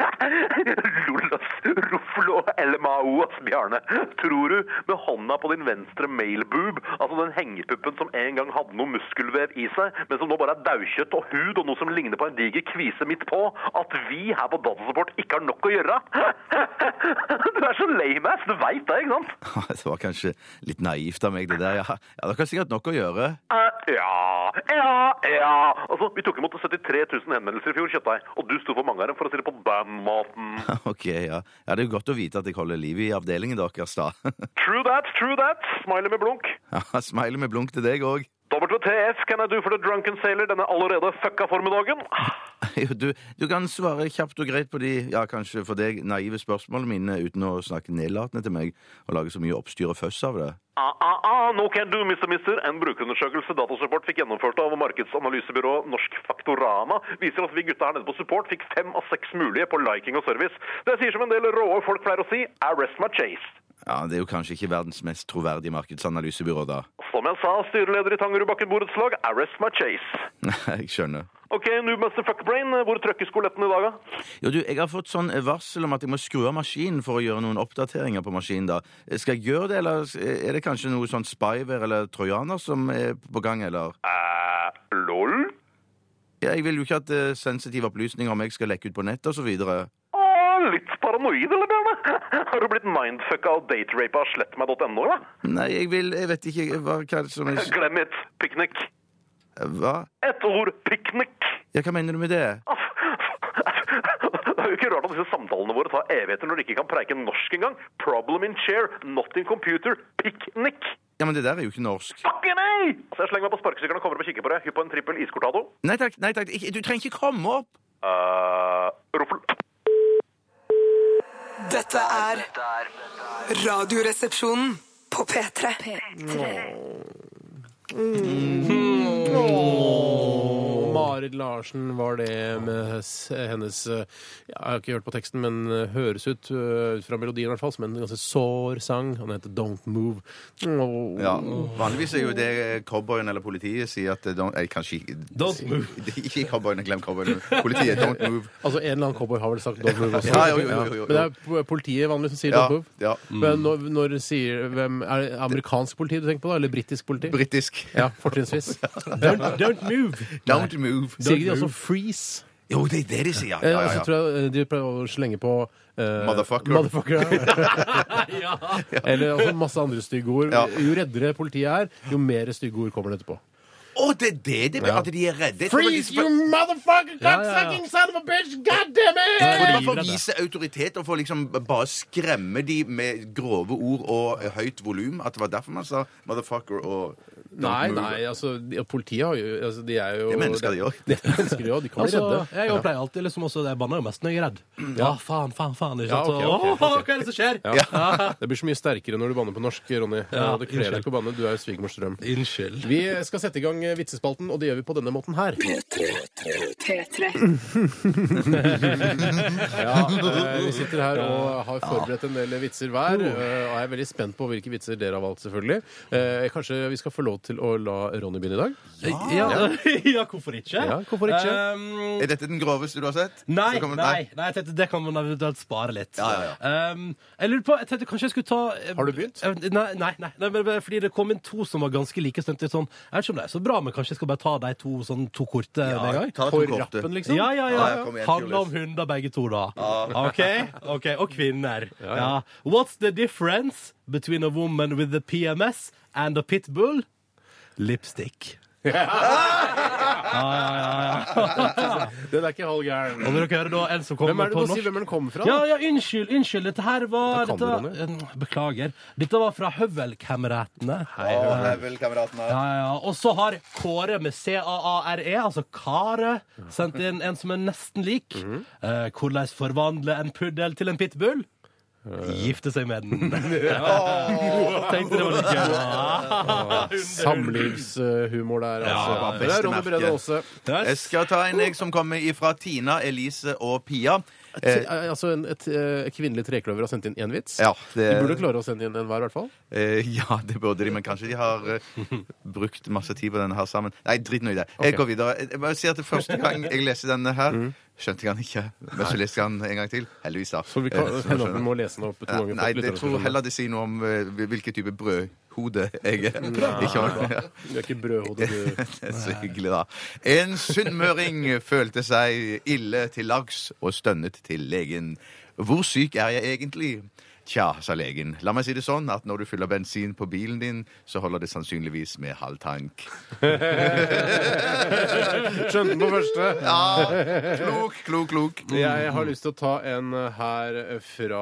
I: Lollas, Ruflo og LMAO, ass, Bjarne. Tror du, med hånda på din venstre mailboob, altså den hengepuppen som en gang hadde noe muskelvev i seg, men som nå bare er daukjøtt og hud og noe som ligner på en diger kvise midt på, at vi her på Datasupport ikke har nok å gjøre? Du er så lame ass, du veit det, ikke sant?
D: Det var kanskje litt naivt av meg, det der. Ja, ja dere har sikkert nok å gjøre.
I: Eh, ja, ja, ja. Altså, vi tok imot 73 000 henvendelser i fjor, Kjøttdeig, og du sto for mange av dem, for å si det på den måten.
D: Ok, ja. ja. Det er jo godt å vite at jeg holder liv i avdelingen deres, da.
I: True that, true that. Smiley med blunk.
D: Ja, Smiley med blunk til deg òg.
I: WTF can I do for the drunken sailor denne allerede fucka formiddagen?
D: Du, du kan svare kjapt og greit på de, ja, kanskje for deg, naive spørsmålene mine uten å snakke nedlatende til meg og lage så mye oppstyr og føss av det.
I: Ah, ah, ah, no can do, mister, mister. En brukerundersøkelse Datasupport fikk gjennomført av markedsanalysebyrået Norsk Faktorama, viser at vi gutta her nede på support fikk fem av seks mulige på liking og service. Det sier som en del råe folk pleier å si, I rest my chase.
D: Ja, Det er jo kanskje ikke verdens mest troverdige markedsanalysebyrå, da.
I: Som jeg sa, styreleder i Tangerudbakken borettslag, I rest my chase.
D: Nei, jeg skjønner.
I: Ok, Noobmaster Fuckbrain, eh, hvor trøkker skoletten i dag, da?
D: Jo, du, Jeg har fått sånn varsel om at jeg må skru av maskinen for å gjøre noen oppdateringer på maskinen. da. Eh, Skal jeg gjøre det, eller er det kanskje noe sånn spyware eller trojaner som er på gang, eller?
I: Eh, lol?
D: Ja, jeg vil jo ikke at eh, sensitive opplysninger om meg skal lekke ut på nett og så videre.
I: Åh, litt paranoid, eller, Bjørne? Har du blitt mindfucka og daterapa av slettmeg.no, eller?
D: Nei, jeg vil Jeg vet ikke jeg- hva, hva er det som er eh,
I: Glem et piknik.
D: Hva?
I: Et ord piknik.
D: Ja, hva mener du med det?
I: Det er jo ikke rart at disse samtalene våre tar evigheter når de ikke kan preike norsk engang. Problem in chair, not in computer. Piknik.
D: Ja, men det der er jo ikke norsk.
I: Fuck nei! Så jeg slenger meg på sparkesykkelen og kommer opp og kikker på det. Hypp på en trippel iskortado.
D: Nei takk, nei takk, ikke, du trenger ikke komme opp.
I: Uh, ruffel...
G: Dette er Radioresepsjonen på P3.
C: Marit Larsen var det med s- hennes eh, Jeg har ikke hørt på teksten, men eh, høres ut eh, ut fra melodien i hvert fall som en ganske sår sang. Han heter Don't Move. Åh.
D: Ja, Vanligvis er jo det eh, cowboyen eller politiet sier at eh, don't, eh, Kanskje ikke-
F: Don't move.
D: Ikke cowboyene, glem cowboyene. Politiet, don't move.
C: Altså, en eller annen cowboy har vel sagt Don't Move også.
D: Ja, jo, jo, jo, jo, jo.
C: Men det er po- politiet vanligvis som sier
D: Ja,
C: Don't Move.
D: ja.
C: Men når, når sier hvem, Er det amerikansk politi du tenker på, da? Eller britisk politi?
D: Britisk.
C: ja, fortrinnsvis. Don't, don't move!
D: Don't move.
C: Sier ikke de også freeze?
D: Jo, det er det de sier. Ja,
C: Ja,
D: ja, ja.
C: Så tror jeg de prøver å slenge på eh,
D: Motherfucker.
C: ja. Eller altså, masse andre stygge ord.
D: Ja.
C: Jo reddere politiet er, jo mer stygge ord kommer det etterpå.
D: Å, det er det de At de er redde. Jeg tror de-
C: motherfucker
F: Ja, ja, ja. cocksucking
C: son of a bitch! God damn
D: Jeg tror det var for å
F: livredde.
D: vise autoritet og for liksom bare skremme de med grove ord og høyt volum. At det var derfor man sa 'motherfucker' og don't
C: Nei,
D: move.
C: nei, altså de- Politiet har jo altså, De er jo
D: Det er mennesker, de òg.
C: Det er mennesker, de òg. De kan bli
F: Altså,
C: redde. Mm.
F: jeg jo pleier alltid liksom også, jeg banner jo mest når jeg er redd. Ja, faen, faen, faen. Ikke
C: Ja,
F: sant?
C: ok, ok,
F: Så, «Åh, Hva er det som skjer?
C: Det blir så mye sterkere når du banner på norsk, Ronny.
F: Ja,
C: det kler deg
F: unnskyld.
C: ikke å banne. Du er jo svigermors drøm.
F: Unnskyld.
C: Vi skal sette i gang eh, vitsespalten, og det gjør vi på denne måten her.
G: P3.
C: Ja, eh, vi sitter her og har forberedt en del vitser hver.
F: Oh.
C: eh, Og jeg er veldig spent på hvilke vitser dere har valgt, selvfølgelig. Eh, Kanskje vi skal få lov til å la Ronny begynne i dag?
F: Ja, ja, hvorfor ikke?
C: Ja, hvorfor ikke?
F: Ehm,
D: Er dette den groveste du har sett?
F: Nei,
D: Så kommer-
F: nei, nei, jeg tenkte det kan man eventuelt spare litt.
D: Ja, ja,
F: Um, jeg lurer på, jeg tenkte kanskje jeg skulle ta eh,
C: Har du begynt?
F: eh, Nei, nei, nei, nei men, men, fordi det kom inn to som var ganske like. Så tenkte jeg sånn, jeg vet ikke om det er så bra, men kanskje jeg skal bare ta de to, sånn, to korte med en gang?
D: ta eh. to
C: På
D: korte.
C: rappen, liksom?
F: Ja, ja,
D: Ja, ja,
F: ja.
D: kom igjen,
F: Handler om
D: Julius.
F: hunder, begge to, da. OK? ok, Og kvinner. Ja. What's the difference between a woman with a PMS and a pitbull? Lipstick.
C: Den er ikke halv gæren.
F: Og dere hører da en som
C: Hvem er
F: kommer
C: det
F: på
C: du må si
F: norsk.
C: hvem den kommer fra?
F: Ja, ja, unnskyld, unnskyld. Dette her var
C: Da kan
F: dette,
C: du,
F: var- Beklager. Dette var fra Høvelkameratene.
D: Å, Level, kameratene.
F: Ja, ja, ja. Og så har Kåre med C-A-A-R-E, altså Kare, sendt inn en som er nesten lik.
C: Mhm.
F: Eh, hvordan forvandle en puddel til en pitbull?
C: Eh.
F: Gifte seg med den. Ja. Tenkte det var litt gøy. Ja.
C: Samlivshumor der, altså.
D: Ja,
C: det er Ronny
D: beste merke.
C: Brede Aase.
D: Jeg skal ta en jeg som kommer ifra Tina, Elise og Pia.
C: Eh, Altså, en, et eh, kvinnelig trekløver har sendt inn én vits.
D: Ja, det,
C: De burde klare å sende inn en hver, i hvert fall.
D: Eh, ja, det burde de, men kanskje de har eh, brukt masse tid på denne her sammen. Nei, drit nå i det. Jeg
C: Ok. Mm.
D: går videre. Eh, Jeg bare sier at det Første gang jeg leste denne her, skjønte jeg den ikke. Men så leste jeg den en gang til. Heldigvis, da.
C: Så vi kan
D: Eh, så
C: hende
D: skjønner
C: at vi
D: jeg.
C: må lese den opp to
D: Ja,
C: ganger. for
D: Nei,
C: at
D: jeg
C: lytterne skal
D: tror
C: skjønne.
D: heller det sier noe om eh, hvilken type brødhode jeg er. Ikke om- Ja.
C: Du er ikke brødhode, du.
D: Det er så hyggelig, da. En sunnmøring følte seg ille til lags og stønnet til legen. Hvor syk er jeg egentlig? Tja, sa legen. La meg si det sånn at når du fyller bensin på bilen din, så holder det sannsynligvis med halv tank.
C: Skjønte den på første.
D: Ja, klok, klok, klok.
C: Jeg har lyst til å ta en eh, her fra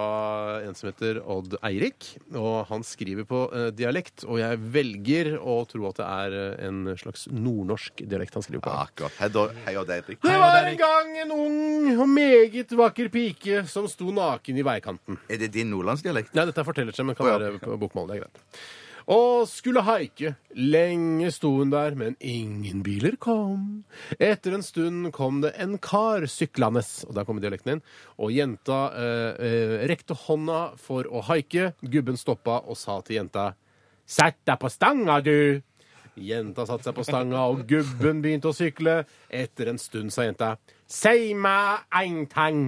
C: en som heter Odd Eirik. Og han skriver på eh, dialekt, og jeg velger å tro at det er eh, en slags nordnorsk dialekt han skriver på.
D: Akkurat. Hei, da- Hei og deg, Erik.
C: Det var en gang en ung og meget vakker pike som sto naken i veikanten.
D: Er det din nordlandsdialekt?
C: Nei, dette er fortellerstemme, men kan
D: Å, ja.
C: være på bokmål. Det er greit. Og skulle haike. Lenge sto hun der, men ingen biler kom. Etter en stund kom det en kar syklende, og der kom dialekten inn, og jenta eh, eh, rekte hånda for å haike. Gubben stoppa og sa til jenta Sett deg på stanga, du! Jenta satte seg på stanga, og gubben begynte å sykle. Etter en stund sa jenta Sei meg ein tang.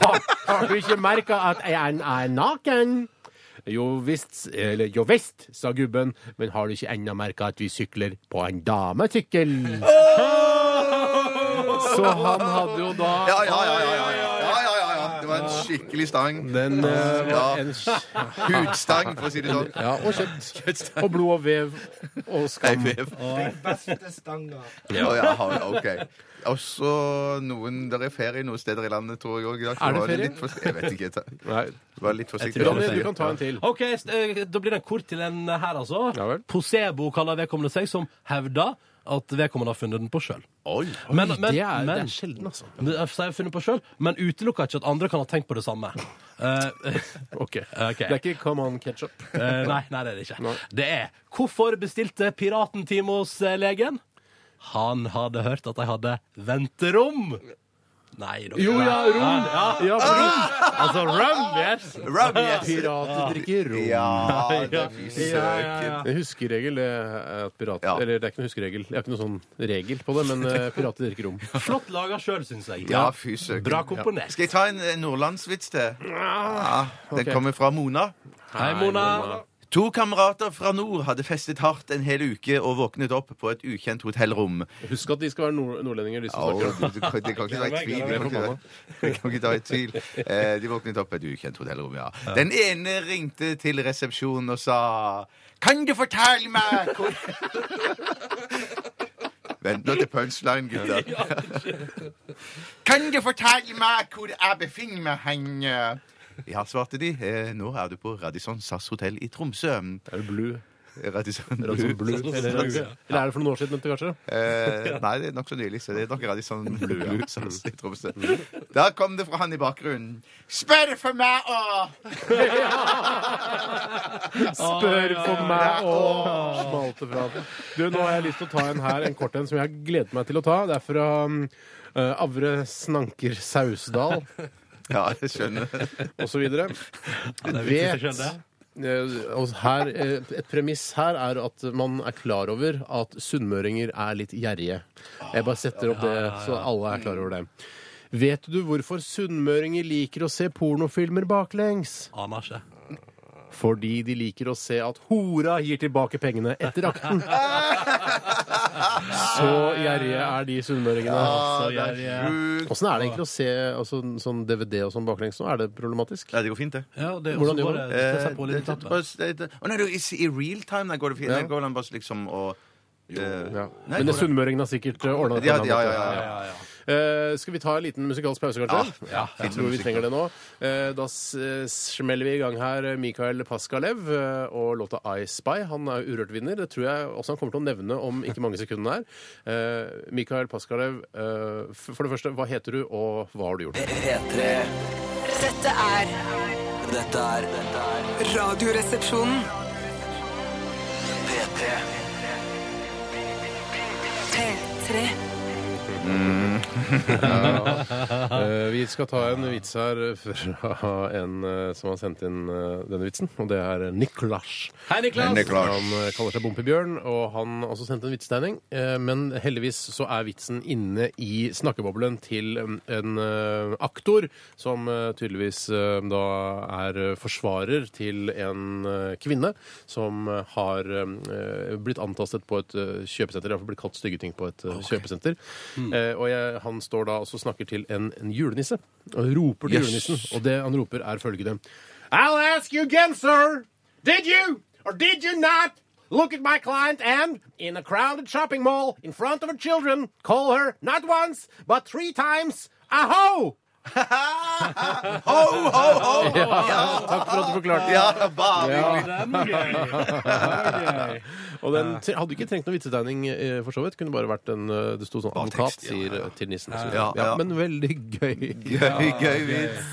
C: Har, har du ikke merka at jeg er- er naken? Jo visst, eller jo visst, sa gubben, men har du ikke ennå merka at vi sykler på en damesykkel? Så han hadde jo da
D: Ja, ja, ja. ja, ja, ja, ja, ja, ja. Det var en skikkelig stang.
C: Den eh,
D: Ja.
C: var en kj-
D: Hudstang, for å si det sånn.
C: Ja, og kjøtt. Og blod og vev og skam.
D: Nei, vev.
E: Beste stanga.
D: Ja, ja, ha- ok. Også noen Det er ferie noen steder i landet, tror jeg òg.
C: Er det ferie?
D: Litt for, jeg vet ikke. jeg tar-
C: Nei.
D: Vær litt forsiktig.
C: Ronny, du kan ta en til.
F: OK, s- eh, da blir det en kort til en her, altså.
C: Ja vel.
F: Posebo kaller vedkommende seg, som hevder at vedkommende har funnet den på sjøl.
C: Oi,
F: Men- men-
C: det, er, det
F: men-
C: er sjelden, altså.
F: Det er- sier jeg har funnet på selv, Men utelukker ikke at andre kan ha tenkt på det samme. Eh,
C: Ok.
F: Ok.
C: Det er ikke Come On Ketchup.
F: eh, nei, nei, det er det ikke. Det er Hvorfor bestilte piraten time hos eh, legen? Han hadde hørt at de hadde venterom. Nei, dere
C: Jo, ja, rom.
F: Ja, ja.
C: Ja, for
F: Altså rum, yes.
D: Ram, yes.
C: pirater drikker rom.
D: Ja, det er
F: Ja, ja,
D: søken.
F: ja.
C: En huskeregel det er eh, at pirater
D: Ja.
C: Eller det er ikke noen huskeregel. Jeg har ikke noen sånn regel på det, men eh, pirater drikker rom.
F: Flott laga sjøl, syns jeg.
D: Ja, fy søken.
F: Bra komponert.
D: Ja. Skal jeg ta en eh, nordlandsvits til? Ja, den
C: Ok.
D: kommer fra Mona.
F: Hei, Mona.
D: To kamerater fra nord hadde festet hardt en hel uke og våknet opp på et ukjent hotellrom.
C: Husk at de skal være nord nordlendinger, de som
D: Au,
C: snakker.
D: du- du kan- det kan ikke være i tvil. Det kan ikke være- det kan ikke være i tvil. Eh, De våknet opp på et ukjent hotellrom, ja. Den ene ringte til resepsjonen og sa Kan du fortelle meg hvor Vent nå til punchline, gutter. Kan du fortelle meg hvor jeg befinner meg hen? Ja, svarte de. «Eh, Nå er du på Radisson SAS hotell i Tromsø.
C: Er det blue?
D: Radisson
C: Radisson blue? Eller, eller er det for noen år siden, kanskje?
D: Eh, nei, det er nokså nylig, så det er nok Radisson sånn Blue som sitter i Tromsø. Der kom det fra han i bakgrunnen. Spør for meg og
C: Spør for meg og smalte fra den. Du, nå har jeg lyst til å ta en her, en kort en, som jeg har gledet meg til å ta. Det er fra um, eh, Avre Snanker Sausdal
D: Ja, jeg skjønner.
C: osv.
F: viktig å
C: Vet
F: skjønne.
C: eh, og her, eh, Et premiss her er at man er klar over at sunnmøringer er litt gjerrige. Jeg bare setter opp det, så alle er klar over det. Vet du hvorfor sunnmøringer liker å se pornofilmer baklengs?
F: Aner ikke.
C: Fordi de liker å se at hora gir tilbake pengene etter akten. Så gjerrige er de sunnmøringene.
D: Ah, det
F: jeg- eh,
D: er sjukt.
C: Åssen er det egentlig å se altså, sånn DVD og sånn baklengs nå? Er det problematisk?
D: Ja, det går fint, det.
F: Ja, det er
C: Hvordan gjør
F: også bare-
D: Eh,
F: det skal jeg på litt
D: det-
F: tatt,
D: det-
F: da.
D: det- det- Å nei, du, i, i real time der går det fint. Der går det bare liksom og eh,
C: Ja.
D: Nei,
C: Men det
D: går det-
C: sunnmøringene har sikkert eh, ordna det.
D: Ja,
C: på en
D: ja,
C: annen
D: ja,
C: måte.
D: ja,
F: Ja, ja.
C: Eh, skal vi ta en liten musikalsk pause, kanskje?
D: Ja, ja.
C: jeg tror vi trenger det nå. Eh, da s- eh, smeller vi i gang her eh, Mikael Paskalev eh, og låta I Spy. Han er jo urørt vinner. Det tror jeg også han kommer til å nevne om ikke mange sekundene her. Eh, Mikael Paskalev, eh, f- for det første, hva heter du, og hva har du gjort?
B: P3
G: Dette er
B: Dette er dette er
G: Radioresepsjonen.
B: P3
G: P3.
C: Eh, vi skal ta en vits her fra en eh, som har sendt inn eh, denne vitsen, og det er Niklas.
F: Hei, Niklas.
D: Nei, Niklas.
C: Han eh, kaller seg Bompebjørn, og han har også sendt en vitsetegning. eh, Men heldigvis så er vitsen inne i snakkeboblen til en, en eh, aktor, som eh, tydeligvis eh, da er eh, forsvarer til en eh, kvinne som eh, har eh, blitt antastet på et eh, kjøpesenter, iallfall blitt kalt stygge ting på et eh, kjøpesenter. Eh, Og jeg, han står da også og snakker til en, en julenisse, og roper til
D: Yes.
C: julenissen, og det han roper er følgende I'll ask you again, sir. Did you or did you not look at my client and, in a crowded shopping mall in front of her children, call her not once but three times a ho?
D: Ho, ho, ho!
C: Takk for at du forklarte.
D: Ja, bare hyggelig.
C: Og den tre- hadde ikke trengt noen vitsetegning, eh, for så vidt. Kunne bare vært en eh, Det sto sånn
D: Bare
C: advokat
D: tekst, ja, ja,
C: sier
D: ja.
C: eh, til nissen. og så videre.
D: Ja, ja.
C: Ja, men veldig gøy.
D: Gøy, gøy vits.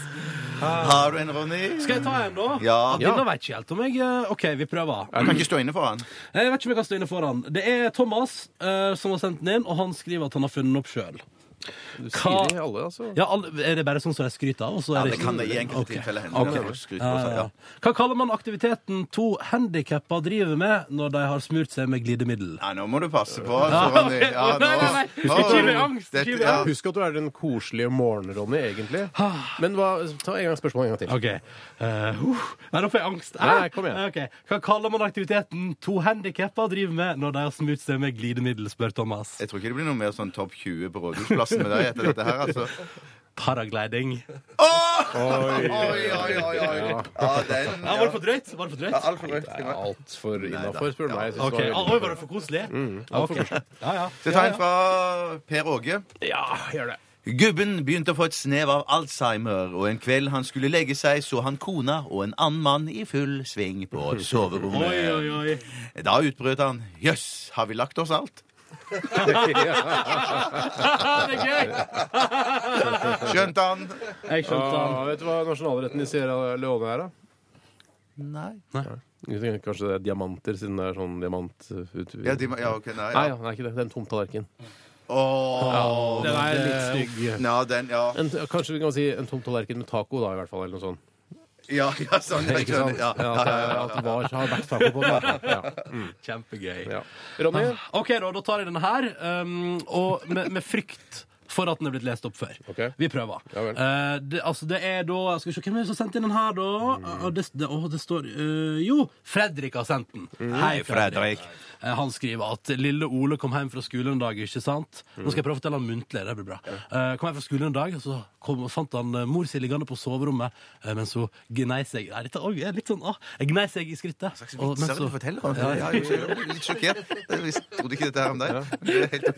D: Har du en, Ronny?
F: Skal jeg ta en, da?
D: Ja.
F: Ja, Denne vet ikke helt om jeg eh, OK, vi prøver.
D: Du kan ikke stå inne for han.
F: Jeg vet ikke om jeg kan stå inne foran. Det er Thomas eh, som har sendt den inn, og han skriver at han har funnet den opp sjøl.
C: Du
F: Hva-
C: sier det, alle, altså.
F: Ja, alle- er det bare sånn som de skryter av? og så
D: Ja,
F: er
D: det
F: ikke-
D: kan det i enkelte
F: Ok.
D: tilfeller hende.
F: Ok.
D: Det må du skryte på seg, ja.
F: Hva kaller man aktiviteten to handikappa driver med når de har smurt seg med glidemiddel?
D: Nei, nå må du passe på. altså, Ronny. Ja,
F: Nei, nei, nei.
D: nå-
F: Husk ikke
D: Nå-
F: med angst,
D: Dette-
F: ikke med
D: ja.
C: Husk at du er den koselige morgenen, Ronny, egentlig. Men hva, ta en gang spørsmålet en gang til.
F: OK. Eh, uh, nei, nå får jeg angst. Ah!
C: Nei, nei, kom igjen.
F: Ok. Hva kaller man aktiviteten to handikappa driver med når de har smurt seg med glidemiddel, spør Thomas.
D: Jeg tror ikke det blir noe mer sånn Topp 20 på Rådhusplassen med deg etter dette her, altså.
F: paragliding.
D: Oi, oi, oi. oi. Ja, den
F: Ja, var det for drøyt? Var det for drøyt?
D: ja, Altfor drøyt.
C: Altfor innafor, spør du meg. Jeg synes
F: Ok, Ah,
C: det var
F: Oi,
C: veldig- Mm.
F: var det for koselig?
C: altfor
F: Ok. Ja, ja.
D: Det tar en fra Per Åge.
C: Ja, gjør det.
D: Gubben begynte å få et snev av Alzheimer, og en kveld han skulle legge seg, så han kona og en annen mann i full sving på soverommet.
F: Oi, oi, oi.
D: Da utbrøt han 'Jøss, har vi lagt oss alt?'
F: det er gøy!
D: Skjønte han?
F: Jeg skjønte han.
C: Ah, vet du hva nasjonalretten i Sierra Leone er, da?
D: Nei.
C: Jeg tenker Kanskje det er diamanter, siden det er sånn diamant...
D: Ja, de, ja ok, nei.
C: Nei,
D: Ja.
C: ja, det er ikke det. Det er en tom tallerken.
D: Åh,
C: Den er litt
F: eh,
C: stygg.
D: ja, den, ja.
C: En, kanskje vi kan si en tom tallerken med taco, da, i hvert fall. Eller noe sånt.
D: Ja, ja, sånn. Jeg
C: Ikke sant?
D: skjønner. Ja,
C: Ja,
D: ja,
C: at det
D: ja,
C: er-
D: ja.
C: at det var, har vært taco på den. Ah. Ja.
F: Kjempegøy.
C: Ja. Ronny?
F: OK, da, da tar jeg denne her, um, og med, med frykt for at den er blitt lest opp før.
C: Ok.
F: Vi prøver.
C: Ja vel.
F: Eh, det, altså, det er da Skal vi se, Hvem er det som har sendt inn den her, da? Ah, det, det, åh, det står eh, Jo, Fredrik har sendt den. Hei, Fredrik. Eh, Han skriver at lille Ole kom hjem fra skolen en dag, ikke sant? Nå skal jeg prøve å fortelle han muntlig, det blir bra. Eh, kom hjem fra skolen en dag, og så kom, fant han eh, mor si liggende på soverommet eh, mens hun gnei seg Nei, dette oi, er litt sånn, ah, jeg gnei seg i skrittet.
D: Slags
F: Og mens
D: vitser du
F: hun-
D: forteller om. Ja, jeg er litt sjokkert. Jeg visste- trodde ikke dette her om deg. Men Det er helt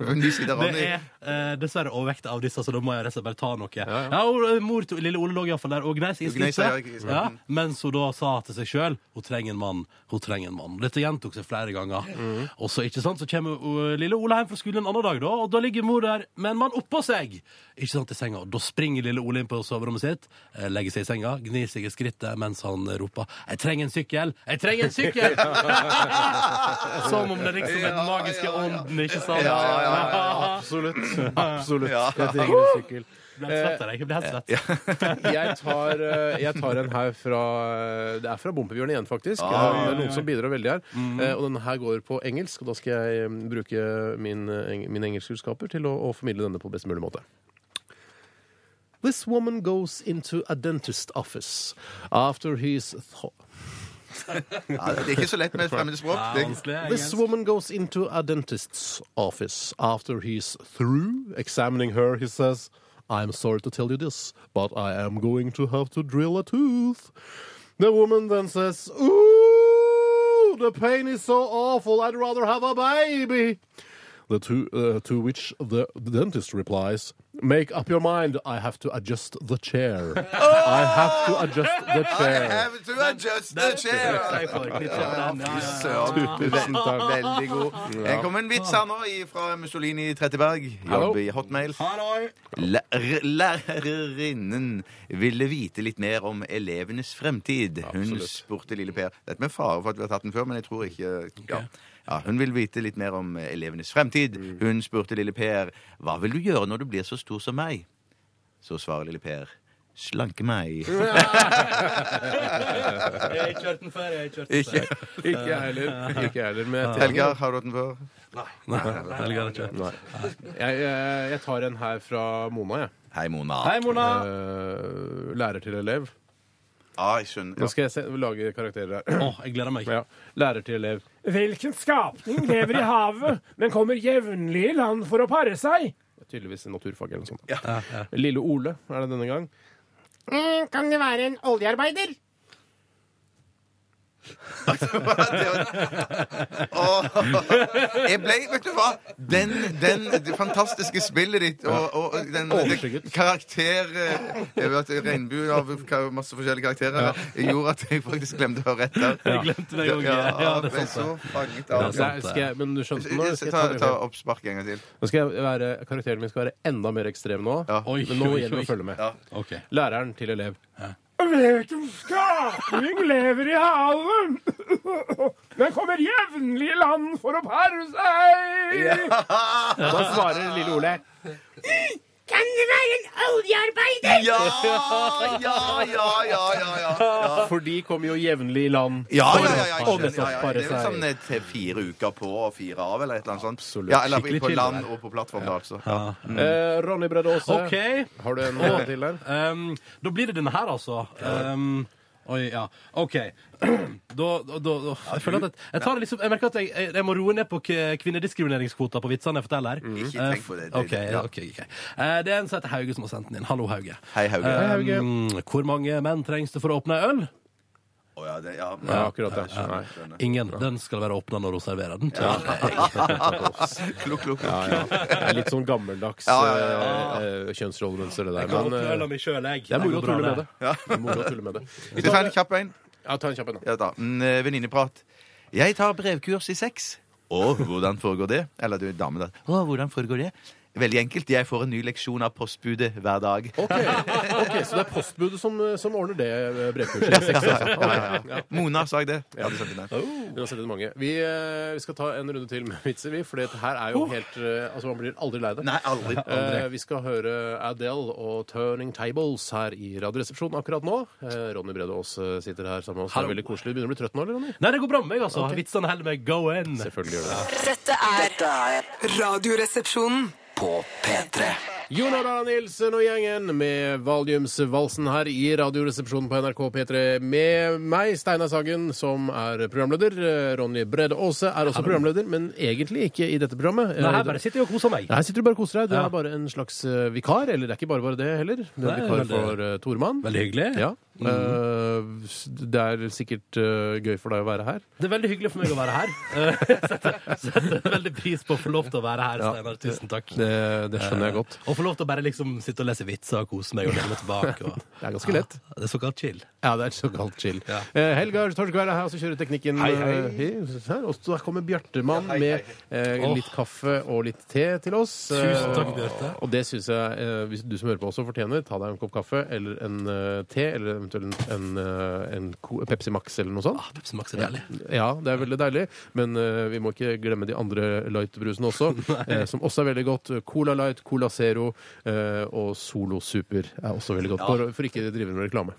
D: ok. Ny side av
F: Det
D: Ronny.
F: er eh, dessverre overvekt av disse, så da må jeg rett og slett bare ta noe. Ja, og, eh, mor til lille Ole lå iallfall der og gnei seg i
D: Du gnei seg, ja,
F: skrittet.
D: ikke sant.
F: Ja, mens hun da sa til seg sjøl hun trenger en mann. hun trenger en mann. Dette gjentok seg flere ganger. Og så ikke sant, så kommer eh, lille Ole hjem fra skolen en annen dag, da, og da ligger mor der med en mann oppå seg. Ikke sant, i senga. Og Da springer lille Ole inn på soverommet sitt, eh, legger seg i senga, gnir seg i skrittet mens han roper 'Jeg trenger en sykkel! Jeg trenger en sykkel!' Som om det liksom er den magiske ånden, ikke sant?
C: Absolutt. Absolutt.
D: Ja.
C: Jeg trenger en sykkel.
F: Ble helt svett av deg. Jeg ble helt svett.
C: Jeg tar, eh, jeg tar en her fra Det er fra Bompebjørn igjen, faktisk. Eh, det er noen som bidrar veldig her. Eh, Og denne her går på engelsk, og da skal jeg eh, bruke min, eh, eng- mine engelskkunnskaper til å, å formidle denne på best mulig måte. This woman goes into a dentist office after he's tho-
D: Ja, det er ikke så lett med fremmede språk. Det er- sånn
F: Vanskelig, jeg
C: This woman goes into a dentist's office. After he's through examining her, he says, I'm sorry to tell you this, but I am going to have to drill a tooth. The woman then says, Ooh, the pain is so awful, I'd rather have a baby. The two, uh, to which the dentist replies, Make up your mind, I have to adjust the chair. I have to adjust the
D: I
C: chair.
D: have to adjust the chair. Søren,
C: Tusen takk.
D: veldig god. Jeg kom med en vits her nå fra Mussolini Tretteberg.
C: Hallo.
D: Jobb i Hotmail. Læ- r- Lærerinnen ville vite litt mer om elevenes fremtid. Hun
C: Absolutt.
D: spurte lille Per Det er med fare for at vi har tatt den før, men jeg tror ikke ja. Ja, Hun vil vite litt mer om elevenes fremtid.
C: Mm.
D: Hun spurte lille Per hva vil du gjøre når du blir så stor som meg. Så svarer lille Per slanke meg.
F: Jeg har ikke hørt den før. jeg har ikke hørt den
D: Ikke.
C: Ikke jeg heller. Ikke jeg heller, men jeg tenker-
D: Helgar, har du hørt den før?
F: før. Helga har ikke hørt den.
C: Nei. Jeg, jeg, jeg tar en her fra Mona, jeg.
D: Hei, Mona.
F: Hei, Mona.
C: Eh, lærer til elev.
D: Ja, jeg skjønner.
C: Nå
D: Ja.
C: skal jeg se, lage karakterer her.
F: Å, jeg gleder meg.
C: Ja. Lærer til elev.
J: Hvilken skapning lever i havet, men kommer jevnlig i land for å pare seg?
C: Tydeligvis i naturfag eller noe sånt. Lille Ole er det denne gang.
J: Eh, Kan det være en oljearbeider?
D: Åh, jeg ble, vet du hva Den, den det fantastiske spillet ditt og, og den
C: Overskygget.
D: det karakter eh, jeg vet, Regnbuen av ka- masse forskjellige karakterer gjorde at jeg faktisk glemte å høre etter.
F: Jeg glemte det òg.
D: Ja,
F: Ja, det
D: ble
F: er
D: så
F: sant.
D: fanget av
F: sant.
D: det.
C: Nei, skal jeg, men du skjønte nå? Skal jeg
D: Ta,
C: ta, den
D: ta
C: igjen?
D: oppspark en gang til.
C: nå skal jeg være, karakteren min skal være enda mer ekstrem nå.
D: Ja.
F: Oi,
C: Men nå
F: oi,
C: gjelder det
F: oi.
C: å følge med.
D: Ja.
F: Ok.
C: Læreren til elev.
J: Hvilken skapning lever i havet, men kommer jevnlig i land for å pare seg?
F: Ah,
C: Da svarer lille Ole.
J: Kan det være en oljearbeider?
D: Ja, ja, ja, ja, ja, ja.
C: For de kommer jo jevnlig i land.
D: Ja, ja, ja, ja, jeg
C: Og
D: skjønner.
C: nettopp
D: ja, ja. Det er vel
C: pare seg.
D: sånn eh, til fire uker på og fire av, eller et eller annet sånt. Ja, eller
F: Skikkelig
D: på
F: chill,
D: land
F: det
D: og på plattform, da, altså.
C: Eh, Ronny Bredde Aase,
F: OK. ehm,
C: har du en
F: Å.
C: til der?
F: Um, da blir det denne her, altså. Um, å, Oi, ja. OK. Da, da, da, da jeg, føler at jeg, jeg, tar det liksom, jeg merker at jeg, jeg, jeg må roe ned på k- kvinnediskrimineringskvota på vitsene jeg forteller.
D: Ikke Mm.
C: Eh,
D: tenk på det, det-
F: OK.
D: det- ja.
F: ok, ok. Eh, Det er en som heter Hauge som har sendt den inn. Hallo, Hauge.
D: Hei, Hauge. Hei,
F: Eh, Hvor mange menn trengs det for å åpne ei øl?
D: Å ja, det, ja.
C: Ja, akkurat det. Nei.
F: Ingen. Den skal være åpna når hun serverer den.
D: Klok, klok, klok.
C: Ja, ja. Det er litt sånn gammeldags
D: Ja, ja, ja, ja,
C: eh, eh, kjønnsrollemønster, det
F: Jeg kan
C: der. Men
F: åpne
C: eh,
F: øla mi sjøl, jeg.
C: det er moro
F: går
C: å
F: bra,
C: tulle med det. Det er moro å tulle med det.
D: Skal vi ta en kjapp en?
C: Ja, ta en kjapp en, da.
D: Ja da. Mm, eh, Venninneprat. Jeg tar brevkurs i sex. Å, hvordan foregår det? Eller du er dame, da. Å, hvordan foregår det? Veldig enkelt. Jeg får en ny leksjon av postbudet hver dag.
C: Ok, ok, Så det er postbudet som, som ordner det eh, brevkurset? i sex, altså. Ok, ja. Oh.
D: Mona sa jeg det. Ja, du sendte den.
C: Vi har sett det mange. Vi, eh, vi skal ta en runde til med vitser, vi. For dette her er jo helt eh, Altså, man blir aldri lei det.
D: Nei, aldri.
C: Eh, vi skal høre Adele og 'Turning Tables' her i Radioresepsjonen akkurat nå. Eh, Ronny Brede Aas eh, sitter her sammen med oss. Det er
F: Hallo.
C: veldig koselig. Begynner du å bli trøtt nå, eller, Ronny?
F: Nei, det går bra med meg, altså. Vitsene holder meg going.
C: Selvfølgelig gjør det.
G: Dette er Radioresepsjonen.
B: På P3
C: Jon Arne Nilsen og gjengen med Valiumsvalsen her i Radioresepsjonen på NRK P3. Med meg, Steinar Sagen, som er programleder. Eh, Ronny Brede Aase er også programleder, men egentlig ikke i dette programmet. Eh,
F: Nei, her bare sitter jeg og koser meg.
C: Her sitter du bare og koser deg. Du
F: Ja.
C: er bare en slags eh, vikar. Eller det er ikke bare bare det heller. Du er
F: Nei,
C: vikar
F: veldig-
C: for uh, Tormann.
F: Veldig hyggelig.
C: Ja. Eh, s- det er sikkert eh, gøy for deg å være her.
F: Det er veldig hyggelig for meg å være her. Eh, Setter, setter veldig pris på å få lov til å være her, Steinar. Tusen takk.
C: Det, det skjønner jeg godt.
F: Og få lov til å bare liksom sitte og lese vitser og kose meg og lene meg tilbake. Og,
C: Det er ganske lett.
F: Ja, det er såkalt chill.
C: Ja, det er såkalt chill.
F: Ja.
C: Eh, Helgar Torskvær er her, og så kjører teknikken
F: Hei, hei.
C: eh, her. Og så der kommer Bjartemann
D: Ja, hei, hei,
C: med eh, litt kaffe og litt te til oss.
F: Tusen takk,
C: Eh,
F: Bjarte.
C: Og det syns jeg eh, hvis du som hører på også fortjener. Ta deg en kopp kaffe eller en eh, te, eller eventuelt en, en, eh, en ko- Pepsi Max eller noe sånt.
F: Ah, Pepsi Max er deilig.
C: Ja, det er veldig deilig, men eh, vi må ikke glemme de andre light-brusene også, eh, som også er veldig godt. Cola Light, Cola Zero eh, og Solo Super er også veldig godt, for, for ikke å drive med reklame.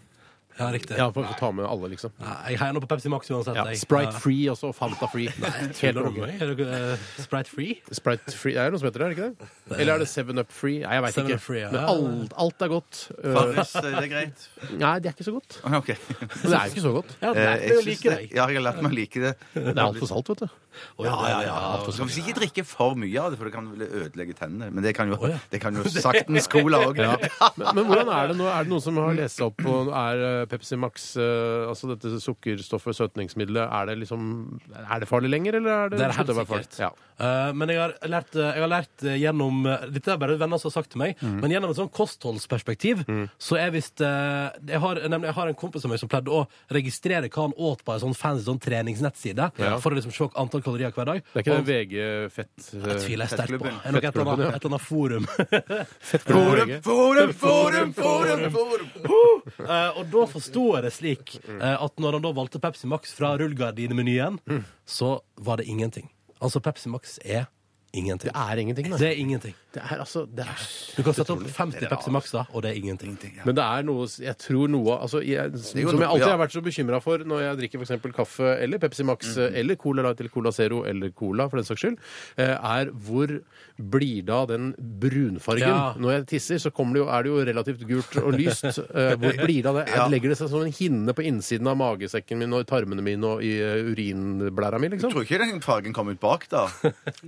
F: Ja, riktig.
C: Ja, for å ta med alle, liksom.
F: Ja, Jeg heier nå på Pepsi Max uansett.
C: Ja,
F: jeg.
C: Sprite Free også, og Fanta Free. Helt
F: Tuller du
C: konge.
F: med meg? Er dere eh, Sprite free?
C: Sprite Free, det er jo noe som heter det, er det ikke det? Eller er det Seven Up Free? Nei, jeg veit
F: 7
C: ikke.
F: Up Free, ja.
C: Men alt, alt er godt. Uh,
D: Farris, eh, det er greit.
C: Nei, det er ikke så godt.
D: Ok.
C: Det er ikke så godt.
F: Ja, det
D: Eh,
F: er jo
D: synes
F: like
D: det-
F: deg.
D: Ja, jeg har lært meg å like det.
C: Det er altfor salt, vet du.
F: Å, ja, ja, ja.
D: Du skal visst ikke drikke for mye av det, for det kan vel ødelegge tennene. Men det kan jo,
F: ja.
D: det kan jo saktens cola òg.
C: Men, men hvordan er det nå? Er det noen som har lest seg opp på Er eh, Pepsi Max, eh, altså dette sukkerstoffet, søtningsmiddelet, er det liksom Er det farlig lenger, eller er det
F: Det er helt
C: Slutt å være farlig?
F: sikkert.
C: Ja.
F: Eh, men jeg har lært, eh, jeg har lært eh, gjennom eh, Dette er bare venner som har sagt til meg,
C: Mhm.
F: men gjennom et sånn kostholdsperspektiv så er visst eh, jeg, har, nemlig, jeg har en kompis av meg som pleide å registrere hva han åt på en sånn fancy sånn treningsnettside
C: Ja.
F: for å liksom se antall kalorier hver dag.
C: Det er ikke
F: Og-
C: det VG-fett
F: jeg tviler jeg sterkt på.
D: Fettklubben.
F: Det Er nok et, eller annet, et eller annet forum.
D: Forum, forum, forum, forum, forum!
F: Eh, og da forsto jeg det slik
C: Mm.
F: eh, at når han da valgte Pepsi Max fra rullegardinemenyen,
C: Mm.
F: så var det ingenting. Altså, Pepsi Max er ingenting.
C: Det er ingenting,
F: Det
C: nei.
F: er ingenting.
C: Det er altså det er
F: Du kan sette opp 50
C: altså.
F: Pepsi Max, da, og det er ingenting.
C: Men det er noe Jeg tror noe altså, jeg, Som
D: er jo
C: jeg
D: noe,
C: alltid
D: ja.
C: har vært så bekymra for når jeg drikker f.eks. kaffe eller Pepsi Max
D: Mm,
C: eller Cola Light eller Cola Zero eller Cola, for den saks skyld, eh, er hvor blir da den brunfargen?
F: Ja.
C: Når jeg tisser, så kommer det jo, er det jo relativt gult og lyst. eh, Hvor blir det av det? Er-
D: Ja.
C: Legger det seg som en hinne på innsiden av magesekken min og i tarmene mine og i eh, urinblæra mi,
D: Jeg tror
C: liksom?
D: ikke den fargen kom ut bak, da.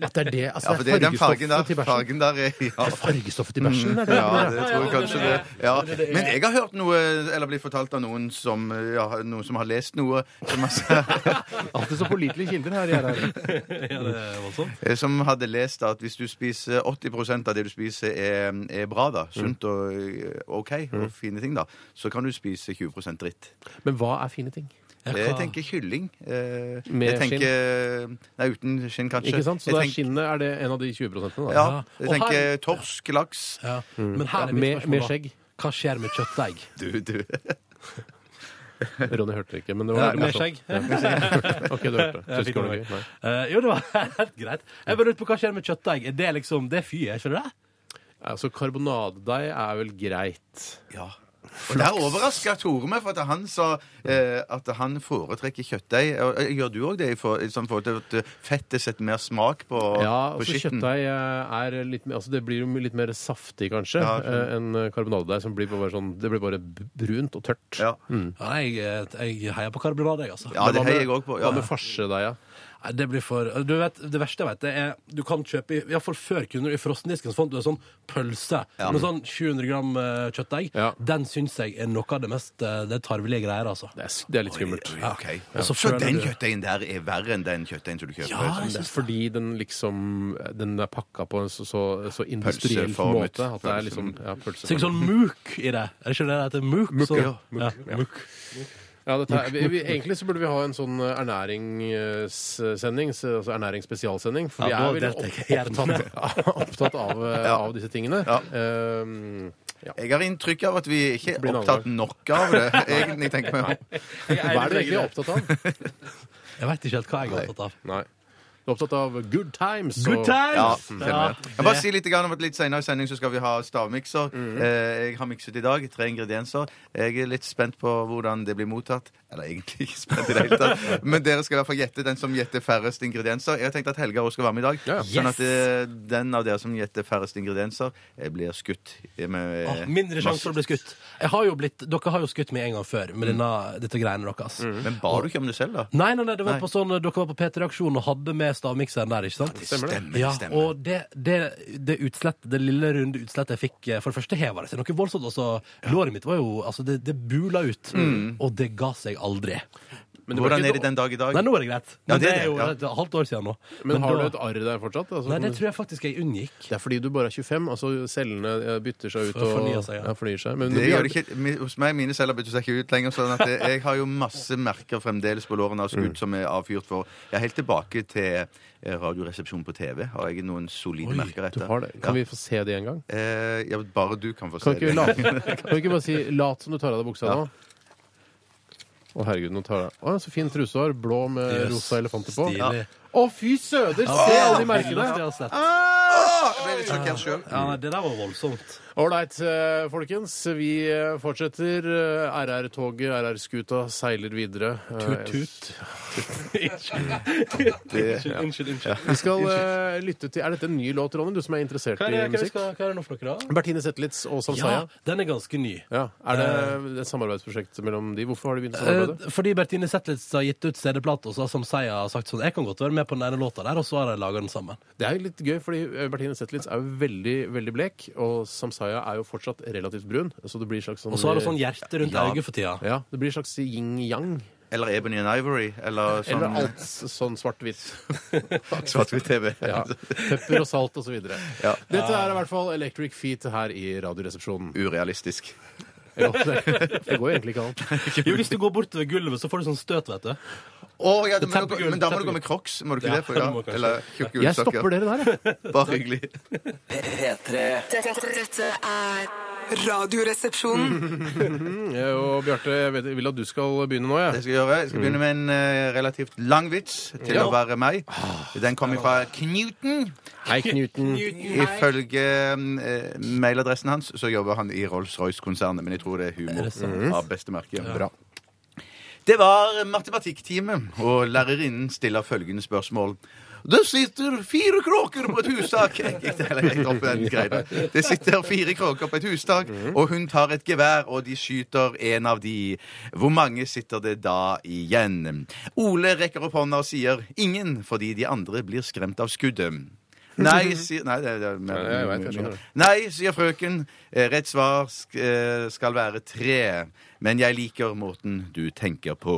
C: At det er det? Altså,
D: Ja, for det er den fargen der.
C: til bæsjen.
D: Fargen der er, ja.
C: Det er fargestoffet til bæsjen, er det?
D: Ja, det tror jeg kanskje det. Ja. Men jeg har hørt noe, eller blitt fortalt av noen som, ja, noen som har lest noe, som, har,
C: Alltid så pålitelige kilder her. jeg er her.
F: Ja, det er voldsomt.
D: Eh, som hadde lest at hvis du spiser 80 av det du spiser, er, er bra,
C: Mm.
D: da, sunt og eh, OK, og fine ting, da, så kan du spise 20 dritt.
C: Men hva er fine ting?
D: Jeg tenker kylling. eh,
C: Med
D: jeg tenker, Nei, uten skinn, kanskje.
C: Ikke sant? Så
D: jeg
C: da er
D: tenker,
C: skinnet er det en av de 20 da?
D: ja,
F: Og
D: jeg
F: her-
D: tenker torsk, laks
F: Ja. Mm. Men her er mitt
C: Med,
F: spørsmål,
C: med
F: da.
C: skjegg.
F: Hva skjer med kjøttdeig?
D: Du, du.
C: Ronny hørte det ikke, men det var
F: med skjegg?
C: Ok, du hørte. Synes
F: Jeg fikk
C: det var
F: det
C: gøy. Nei.
F: Eh, jo, det var helt greit. Jeg bare lurte på hva skjer med kjøttdeig. Er det liksom det fyet, skjønner du det?
C: Altså, karbonadedeig er vel greit.
D: Ja. Og der overraska Tore meg, for at han sa eh, at han foretrekker kjøttdeig. Og, eh, Gjør du òg det i for, i sånn forhold til at eh, fettet setter mer smak på,
C: Ja,
D: på
C: altså
D: skitten?
C: kjøttdeig eh, er litt mer, altså det blir jo litt mer saftig kanskje
D: Ja, jeg skjønner.
C: eh, enn karbonadedeig som blir bare sånn, det blir bare b- brunt og tørt.
D: Ja.
F: Mm. Ja, jeg, eh, jeg heier på karbonade, jeg, altså.
D: Ja,
C: Mm.
D: det
C: Men hva
D: heier
C: med-
D: jeg òg på.
C: Hva
D: Ja.
C: med farsedeig? Ja?
F: Nei, det blir for eh, du vet, Det verste jeg vet, det er du kan kjøpe i, i hvert fall Før kunne du i frossendisken så fant du en sånn pølse med sånn 700 gram eh, kjøttdeig.
C: Ja. Den
F: syns jeg er noe av det mest eh, Det er tarvelige greier, altså.
C: Det er, s- det er litt skummelt.
D: Ja, ok.
F: Og så
D: Så
F: føler
D: den
F: du-
D: kjøttdeigen der er verre enn den kjøttdeigen som du kjøper?
F: Ja, jeg
C: Det er
F: synes
C: fordi den liksom Den er pakka på en så, så, så industriell
D: Pølseformet.
C: måte at det er liksom ja, pølse.
F: Så ikke sånn mook i det. Er det ikke det det heter? Mook?
C: Mook,
F: så-
C: ja.
F: ja.
C: Ja, dette er, vi, vi, egentlig så burde vi ha en sånn ernæringssending, så- altså ernæringsspesialsending. For
F: Ja,
C: vi
F: da
C: er veldig
F: deltar jeg
C: opp- opptatt, opptatt av, eh,
D: Ja.
C: av disse tingene.
D: Ja.
C: Ehm, ja.
D: Jeg har inntrykk av at vi ikke
C: Blir
D: er
C: en
D: opptatt nok av det, egentlig, tenker jeg.
C: Hva er det du egentlig er opptatt av?
F: Jeg veit ikke helt hva jeg er opptatt av.
C: Nei. Du er opptatt av good times. og-
F: Good times!
D: Ja, stemmer. Jeg bare si litt grann om at litt senere i sending så skal vi ha stavmikser.
F: Mhm.
D: Eh, Jeg har mikset i dag, tre ingredienser. Jeg er litt spent på hvordan det blir mottatt. Eller egentlig ikke spent i det hele tatt. Men dere skal i hvert fall gjette den som gjetter færrest ingredienser. Jeg har tenkt at Helga også skal være med i dag.
C: Ja, ja.
D: Sånn at eh, den av dere som gjetter færrest ingredienser, eh, blir skutt. Med,
F: Åh, mindre sjanse for å bli skutt. Jeg har jo blitt, dere har jo skutt meg en gang før med denne, dette greiene deres.
D: Men ba du ikke om det selv, da?
F: Nei, nei, nei, det var
D: Mm. Nei.
F: på sånn, dere var på P3-aksjon og hadde med stavmikseren der, ikke sant?
C: Stemmer det?
D: Stemmer,
F: ja,
D: stemmer.
F: og det, det, det utslettet, det lille runde utslettet jeg fikk eh, For det første heva det seg noe voldsomt, og så låret mitt var jo Altså, det, det bula ut.
D: Mm.
F: Og det ga seg aldri.
C: Men, du ble
D: Hvordan
C: ikke
D: er det den dag i dag?
F: Nei, nå er det greit. Men
D: Ja,
F: det,
D: det er
F: er jo
D: det, ja.
F: et halvt år siden nå.
C: men har du
F: da-
C: et arr der fortsatt? Altså,
F: Nei, det tror jeg faktisk jeg unngikk.
C: Det er fordi du bare er 25. altså Cellene eh, bytter seg ut
F: For-
C: og
F: fornyer seg, ja.
C: ja, fornyer seg. Men
D: Det
C: vi
D: gjør
C: har-
D: det ikke. Mi- Hos meg, mine celler bytter seg ikke ut lenger. sånn at jeg, jeg har jo masse merker fremdeles på lårene av skudd som er avfyrt for. Jeg er helt tilbake til eh, radioresepsjon på TV. Har jeg noen solide
C: Du
D: merker etter.
C: har det. Kan vi få se det en gang?
D: Ja. Eh, ja, bare du kan få
C: Kan
D: se
C: ikke, vi
D: det.
C: late, kan vi ikke bare si 'lat som du tar av deg buksa
D: Ja.
C: nå'? Å, herregud, nå tar jeg Å, så fin truse du har. Blå med
F: Jøs,
C: rosa elefanter på.
F: stilig.
C: Ja. Å, fy søder! Se alle de merkene!
F: Villeste jeg har sett.
D: Ah, jeg ble litt sjokkert sjøl.
F: Ja, nei, det der var voldsomt.
C: Ålreit, eh, folkens. Vi eh, fortsetter. Eh, RR-toget, RR-skuta seiler videre. Eh,
F: Tut-tut. Unnskyld, unnskyld. unnskyld.
C: Vi skal eh, lytte til Er dette en ny låt, Ronny? Du som er interessert
F: Hva, er
C: i
F: det, hva, er det,
C: musikk?
F: skal- hva er det nå for noe, da?
C: Bertine Zetlitz og
F: Ja,
C: Samsaya.
F: den er ganske ny.
C: Ja. Er det et samarbeidsprosjekt mellom de? Hvorfor har de begynt å samarbeide?
F: Eh, fordi Bertine Zetlitz har gitt ut CD-plate, og så har Samseia sagt sånn Jeg kan godt være med på den ene låta der, og så har de laga den sammen.
C: Det er jo litt gøy, fordi eh, Bertine Zetlitz er jo veldig veldig blek, og Samsaya er jo fortsatt relativt brun. Så det blir en slags sånn
F: Og så har hun sånn hjerte rundt
D: Ja.
F: øyet for tida.
C: Ja, det blir en slags yin-yang.
D: Eller Ebony and Ivory. Eller sånn
C: Eller alt sånn svart-hvitt.
D: svart-hvitt-TV.
C: Ja. Pepper og salt osv. Ja. Dette er i hvert fall Electric Feet her i Radioresepsjonen.
D: Urealistisk.
C: Eller, Det går jo egentlig ikke an.
F: Jo, hvis du går bortover gulvet, så får du sånn støt, vet du.
D: Å, ja, du må jo
F: Tempegull,
D: gå- men da må du gå
F: tempegull.
D: med crocs, må du ikke
F: Ja,
D: det? For,
F: du
D: ja.
F: må kanskje.
D: Eller tjukke
C: Jeg stopper
D: ullsokker.
C: dere der, jeg.
D: Bare hyggelig.
B: P3
G: Dette, dette er Radioresepsjonen.
C: Eh, Og Bjarte, jeg vet- vil at du skal begynne nå,
D: Det
C: jeg.
D: skal jeg gjøre. Jeg skal begynne med en eh, relativt lang vits til å være meg. Den kommer fra Knuten.
C: Hei, Knuten.
D: Ifølge eh, mailadressen hans så jobber han i Rolls-Royce-konsernet, men jeg tror det er humor av beste merke. Bra. Det var matematikktime, og lærerinnen stiller følgende spørsmål. Det sitter fire kråker på et hustak. Jeg gikk det hele rett opp i den greia. Det sitter fire kråker på et hustak,
C: Mhm.
D: og hun tar et gevær, og de skyter en av de. Hvor mange sitter det da igjen? Ole rekker opp hånda og sier ingen, fordi de andre blir skremt av skuddet. Nei, sier Nei, det, det, men,
C: jeg vet, jeg skjønner det.
D: Nei, sier frøken. Eh, Rett svar sk eh, skal være tre. Men jeg liker måten du tenker på.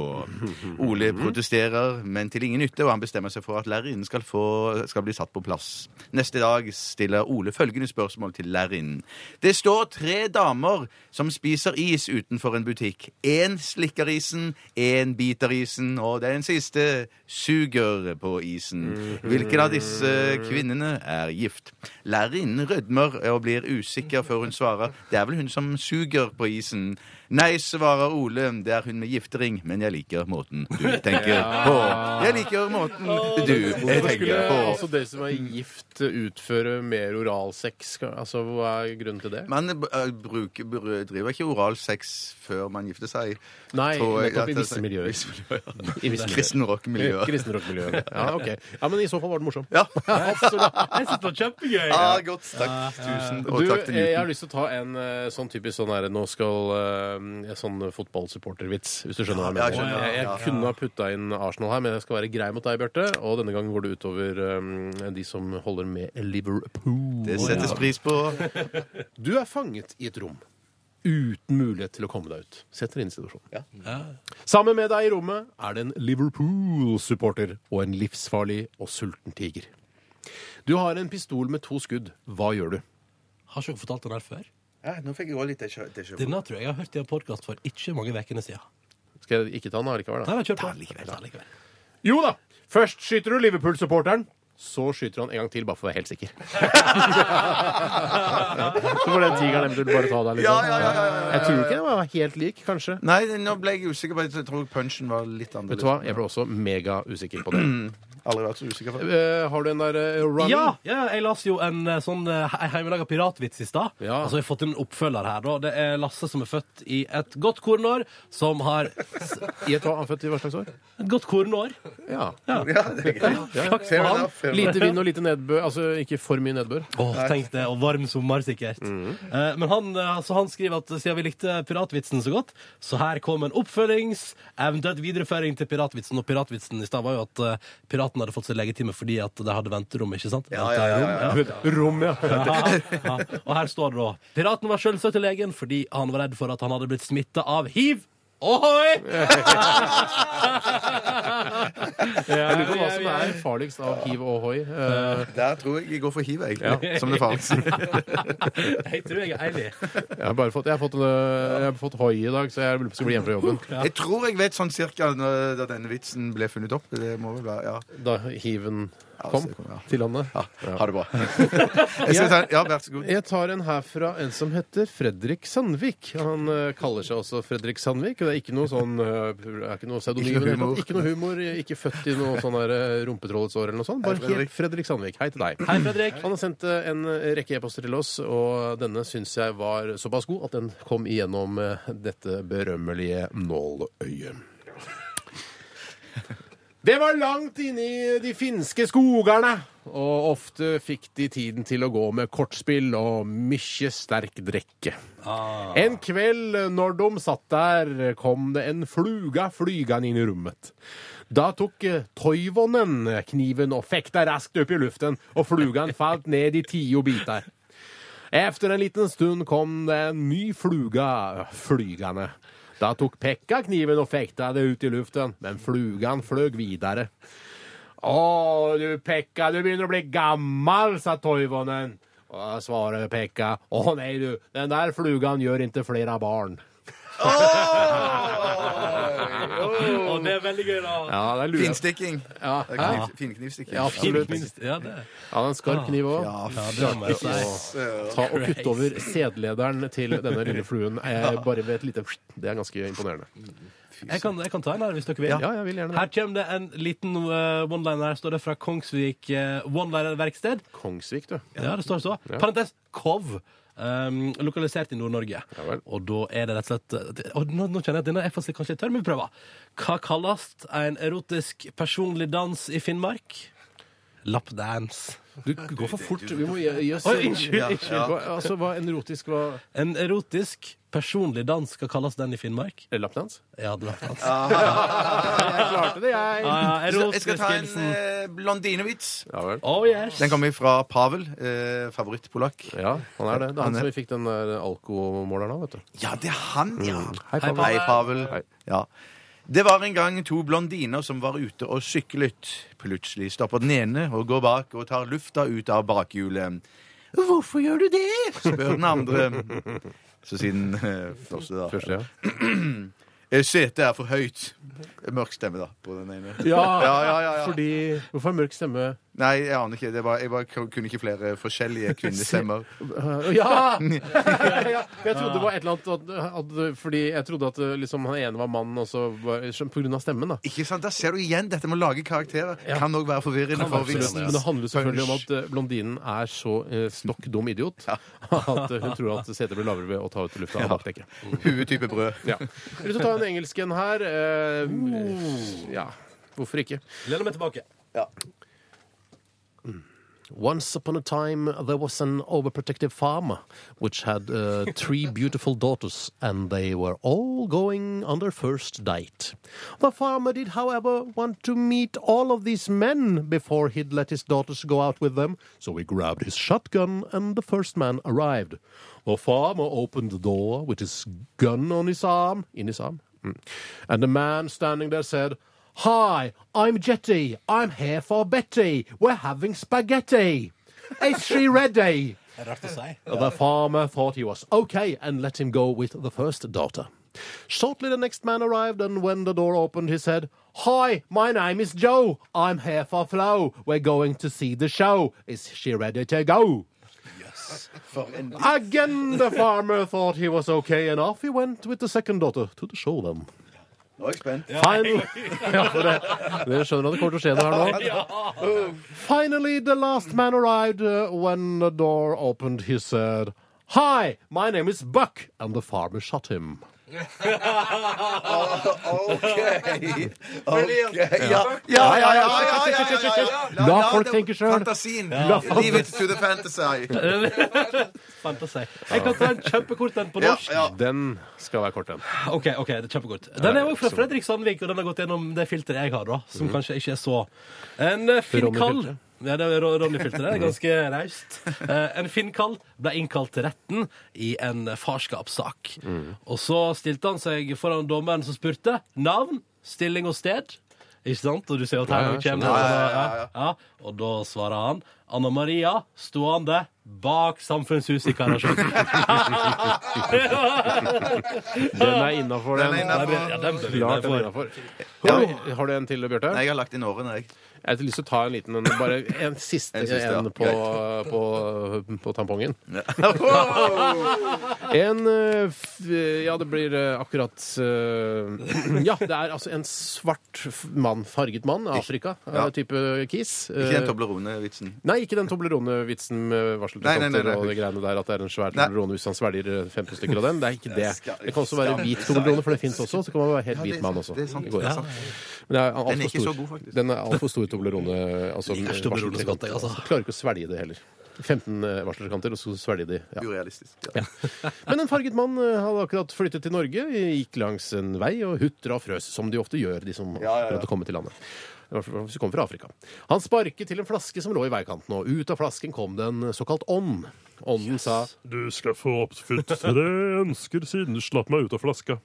D: Ole protesterer, men til ingen nytte, og han bestemmer seg for at lærerinnen skal, få- skal bli satt på plass. Neste dag stiller Ole følgende spørsmål til lærerinnen. Det står tre damer som spiser is utenfor en butikk. Én slikker isen, én biter isen, og den siste suger på
C: Mhm.
D: isen. Hvilken av disse kvinnene er gift? Lærerinnen rødmer og blir usikker før hun svarer. Det er vel hun som suger på isen. Nei, svarer Ole, det er hun med giftering, men jeg liker måten du tenker på. Jeg liker måten du
C: Hvorfor skulle
D: tenker på.
C: altså dere som er gift, utføre mer oralsex? Altså, Hva er grunnen til det?
D: Man eh, bruker, br- driver ikke oral sex før man gifter seg.
C: Nei,
D: tror jeg
C: nettopp
D: at
C: i
D: det-
C: visse miljøer.
D: Visse miljøer.
C: I visse miljøer.
D: Kristen rock-miljø.
C: Kristenrockmiljøet. Ja, ok. Ja, men i så fall var det morsom.
D: Ja.
C: Absolutt.
F: Jeg synes Altså, det var kjempegøy.
D: Ah, godt. Takk. Tusen og
C: Du,
D: takk til
C: eh, jeg har
D: Newton.
C: lyst til å ta en eh, sånn typisk sånn her, nå skal eh, sånn fotballsupportervits, hvis du skjønner hva jeg
D: Ja,
C: mener.
D: jeg skjønner,
C: Jeg, jeg
D: ja, ja.
C: kunne ha putta inn Arsenal her, men jeg skal være grei mot deg, Bjarte. Og denne gangen går det utover eh, de som holder med Liverpool.
D: Det settes pris på.
C: Du er fanget i et rom uten mulighet til å komme deg ut. Sett deg inn i situasjonen. Sammen med deg i rommet er det en Liverpool-supporter og en livsfarlig og sulten tiger. Du har en pistol med to skudd. Hva gjør du?
F: Har ikke dere fortalt den her før?
D: Ja, nå fikk jeg òg litt det sjøl.
F: Denne tror jeg jeg har hørt i en podkast for ikke mange ukene siden.
C: Skal jeg ikke ta den allikevel, da?
F: Nei, men kjør på. Ta likevel.
C: Jo da! Først skyter du Liverpool-supporteren. Så skyter han en gang til, bare for å være helt sikker. så for den tigeren eventuelt bare ta deg litt.
D: Ja, ja, ja, ja, ja, ja.
C: Jeg tror ikke den var helt lik, kanskje.
D: Nei, nå ble jeg usikker. på det. Jeg tror punchen var litt
C: Vet du hva,
D: annerledes.
C: jeg ble også mega usikker på det.
D: Aldri vært så usikker før.
C: Eh, har du en der eh, running?
F: Ja, ja, jeg las jo en eh, sånn eh, he- hjemmelaga piratvits i stad.
C: Ja.
F: Altså, jeg har fått en oppfølger her. da. Det er Lasse som er født i et godt kornår, som har s-
C: I et hva? Han er født i hva slags år?
F: Et godt kornår?
C: Ja.
D: Ja, det er greit.
F: Flaks
D: Fair
F: for han.
D: enough, fair enough.
C: Lite vind og lite nedbør. Altså ikke for mye nedbør.
F: Åh, tenk det, og varm sommer sikkert. Eh, men han, eh, så han skriver at siden vi likte piratvitsen så godt, så her kom en oppfølgings, eventuelt videreføring til piratvitsen. Og piratvitsen i stad var jo at eh, piratene hadde fått seg legetime fordi at de hadde venterom, ikke sant?
D: Ja, ja, ja, ja, ja.
C: Rom, ja.
F: Ja, og her står det da Piraten var selvsagt til legen fordi han var redd for at han hadde blitt smittet av hiv. Ohoi!
C: Jeg lurer på hva som er farligst av hiv og hoi. Eh,
D: Der tror jeg jeg går for hiv, jeg. Som det fares.
F: Jeg tror jeg er eilig.
C: Jeg har bare fått, jeg har fått, en, eh, jeg har fått hoi i dag, så jeg lurer på om jeg skal bli hjemme fra jobben.
D: Jeg tror jeg vet sånn cirka når- da denne vitsen ble funnet opp. Det må vel være, ja.
C: Da hiven kom
D: så kom, ja.
C: til landet.
D: Ha det bra. Jeg skal ta en, ja, vær så god.
C: Jeg tar en her fra en som heter Fredrik Sandvik. Han eh, kaller seg også Fredrik Sandvik. og Det er ikke noe sånn eh, det er ikke noe pseudonym. i
D: Ikke noe
C: det hele tatt.
D: humor.
C: Ikke noe humor. Ikke født i noe sånn der, eh, rumpetrollets år eller noe sånt. Bare
D: Fredrik.
C: helt Fredrik Sandvik. Hei til deg.
F: Hei, Fredrik.
C: Han har sendt eh, en rekke e-poster til oss, og denne syns jeg var såpass god at den kom igjennom eh, dette berømmelige nåløyet. Det var langt inni de finske skogerne, og ofte fikk de tiden til å gå med kortspill og mykje sterk drikke. En kveld eh, når de satt der, kom det en fluga flygende inn i rommet. Da tok eh, Toivonen eh, kniven og fekta raskt opp i luften, og flugan falt ned i tio biter. Efter en liten stund kom det en ny fluga flygande. Da tok Pekka kniven og fekta det ut i luften, men flugan fløg videre. Å, du Pekka, du begynner å bli gammel, sa Toivonen. Og da svarer Pekka, å nei du, den der flugan gjør ikke flere barn.
F: Å, det er veldig gøy, da.
C: Ja, det er lurt.
D: Finstikking.
C: Ja,
D: Kniv, Finknivstikking.
C: Ja, absolutt.
F: Ja, det.
C: Ah, Ja, det er en skarp kniv òg.
F: Ja, det må jeg si.
C: Ta og kutt over sædlederen til denne lille fluen. Eh, bare ved et lite Det er ganske imponerende.
F: Jeg kan, jeg kan ta en her hvis dere vil.
C: Ja, jeg vil gjerne det.
F: Her kommer det en liten eh, one-liner. Her står det fra Kongsvik eh, One-liner-verksted.
C: Kongsvik, du.
F: Ja, det står så. Parentes KOV. Um, lokalisert i Nord-Norge.
C: vel.
F: og da er det rett og slett eh, og nå, nå kjenner jeg at denne er faktisk kanskje litt tørr, men vi prøver. Hva kalles en erotisk personlig dans i Finnmark? Lappdance.
C: Du går for fort. Vi må gi gi oss
F: Oi, unnskyld, unnskyld.
C: Hva, altså, hva en erotisk hva
F: En erotisk personlig dans, hva kalles den i Finnmark?
C: Lappdans?
F: Ja, det er lappdans.
C: Jeg klarte det, jeg.
F: Ja, ja,
D: Ah, Jeg skal
F: erotisk
D: ta en
C: liksom-
F: hilsen.
D: eh, blondinevits.
C: Ja vel.
F: Oh yes.
D: Den kommer fra Pavel, eh, favorittpolakk.
C: Ja, han er det. Det er han
D: Han er-
C: som vi fikk den der alkomåleren av, vet du.
D: Ja, det er han, ja. Hei,
C: Pavel.
D: Hei, Pavel.
C: Hei.
D: Ja. Det var en gang to blondiner som var ute og syklet. Plutselig stopper den ene og går bak og tar lufta ut av bakhjulet. Hvorfor gjør du det? spør den andre. Så siden eh, første, da.
C: Første, ja.
D: Eh, Setet er for høyt. Mørk stemme, da, på den ene. ja, ja, ja, ja.
C: fordi Hvorfor er mørk stemme?
D: Nei, jeg aner ikke. Det var, jeg bare kunne ikke flere forskjellige kvinnestemmer.
C: Ja! ja! Jeg trodde det var et eller annet at, at, Fordi jeg trodde at eh, liksom, han ene var mann og så var, som- på grunn av stemmen, da.
D: Ikke sant? Da ser du igjen dette med å lage karakterer.
C: Ja.
D: Kan òg være forvirrende for
C: Absolutt,
D: vitsene.
C: Men det handler selvfølgelig om at eh, blondinen er så eh, stokk dum idiot at eh, hun tror at setet blir lavere ved å ta ut lufta av bakdekket.
D: Huetype brød.
C: Ja. Vil du ta en engelsk en her? Eh, ja, hvorfor ikke?
F: Lener meg tilbake.
C: Once upon a time there was an overprotective farmer which had uh, three beautiful daughters and they were all going on their first date. The farmer did, however, want to meet all of these men before he'd let his daughters go out with them, so he grabbed his shotgun and the first man arrived. The farmer opened the door with his gun on his arm, in his arm, mm, and the man standing there said, Hi, I'm Jetty. I'm here for Betty. We're having spaghetti. Is she ready?
F: Rart å si.
C: The farmer thought he was okay and let him go with the first daughter. Shortly, the next man arrived, and when the door opened, he said, Hi, my name is Joe. I'm here for Flo. We're going to see the show. Is she ready to go? Again, the farmer thought he was okay, and off he went with the second daughter to the show them.
D: Nå er jeg spent.
C: Final... Ja, for det, dere skjønner at det kommer til å skje noe her nå. Finally, the last man arrived. Uh, when the door opened, he said, Hi, my name is Buck. And the farmer shot him.
D: Ah, OK. Ja, ja, ja. ja, ja, ja, ja, ja, ja.
C: La folk tenke selv.
D: Fantasien.
C: La folk-
D: Leave it to the fantasy.
F: Fantasi. Jeg kan ta en kjempekort en på
D: Ja,
F: norsk.
D: ja.
C: Den skal være kort, den.
F: Ok, ok, det er kjempekort. Den er òg fra Fredrik Sandvik, og den har gått gjennom det filteret jeg har, da. Som kanskje ikke er så En eh, Finn
C: Mhm. Ronny
F: Kall
C: filteret. Mhm.
F: ja, det er Ro- Ronny-filteret. det er Ganske raust. Eh, En Finn Kall ble innkalt til retten i en eh, farskapssak.
C: Mhm.
F: Og så stilte han seg foran dommeren som spurte navn, stilling og sted. Ikke sant? Og du ser at
C: Ja,
F: her
C: ja,
F: kommer det. ja, ja. Og da svarer han Anna Maria stående bak Samfunnshuset i Karasjok.
C: Den er innafor,
D: Den
C: den.
D: er
F: Ja,
D: innenfor.
F: den bør vi
C: Klart den er
F: innenfor.
C: innenfor. Oi, Har du en til, Bjarte?
D: Nei, jeg har lagt inn årene, jeg.
C: Jeg har lyst til å ta en liten en. Bare en siste
D: En
C: en,
D: siste, ja.
C: på, på, på tampongen.
D: Wow!
C: En eh, f- Ja, det blir eh, akkurat eh, Ja, det er altså en svart f- mann, farget mann, Afrika, eh,
D: Ja.
C: type kis.
D: Ikke
C: Eh,
D: den Toblerone-vitsen.
C: Nei, ikke den Toblerone-vitsen med varseldekanter
D: Nei, nei, nei, nei.
C: og de greiene der at det er en svær
D: Nei.
C: Toblerone hvis han svelger eh, 15 stykker av den. Det er ikke det.
D: skal-
C: Det kan også være
D: skal-
C: hvit Toblerone, for det fins også. Så kan man være helt
D: det er
C: hvit mann
D: sant,
C: også.
D: det er sant,
C: Det går
D: det
C: an.
D: er sant.
C: Men det er alt
D: Den
C: for
D: er ikke
C: stor.
D: så god, faktisk.
C: Den er altfor stor Toblerone. Altså,
F: Stakkars Toblerone så godt, jeg, altså.
C: Klarer ikke å svelge det heller. 15 varselkanter, og så svelger de. Ja.
D: Urealistisk. Ja.
C: Men en farget mann eh, hadde akkurat flyttet til Norge, gikk langs en vei og hutra og frøs, som de ofte gjør, de som
D: ja, ja.
C: prøvde å komme til landet. I hvert fall Hvis du kommer fra Afrika. Han sparket til en flaske som lå i veikanten, og ut av flasken kom det en såkalt ånd. Ånden sa
K: Du skal få oppfylt tre ønsker siden du slapp meg ut av flaska.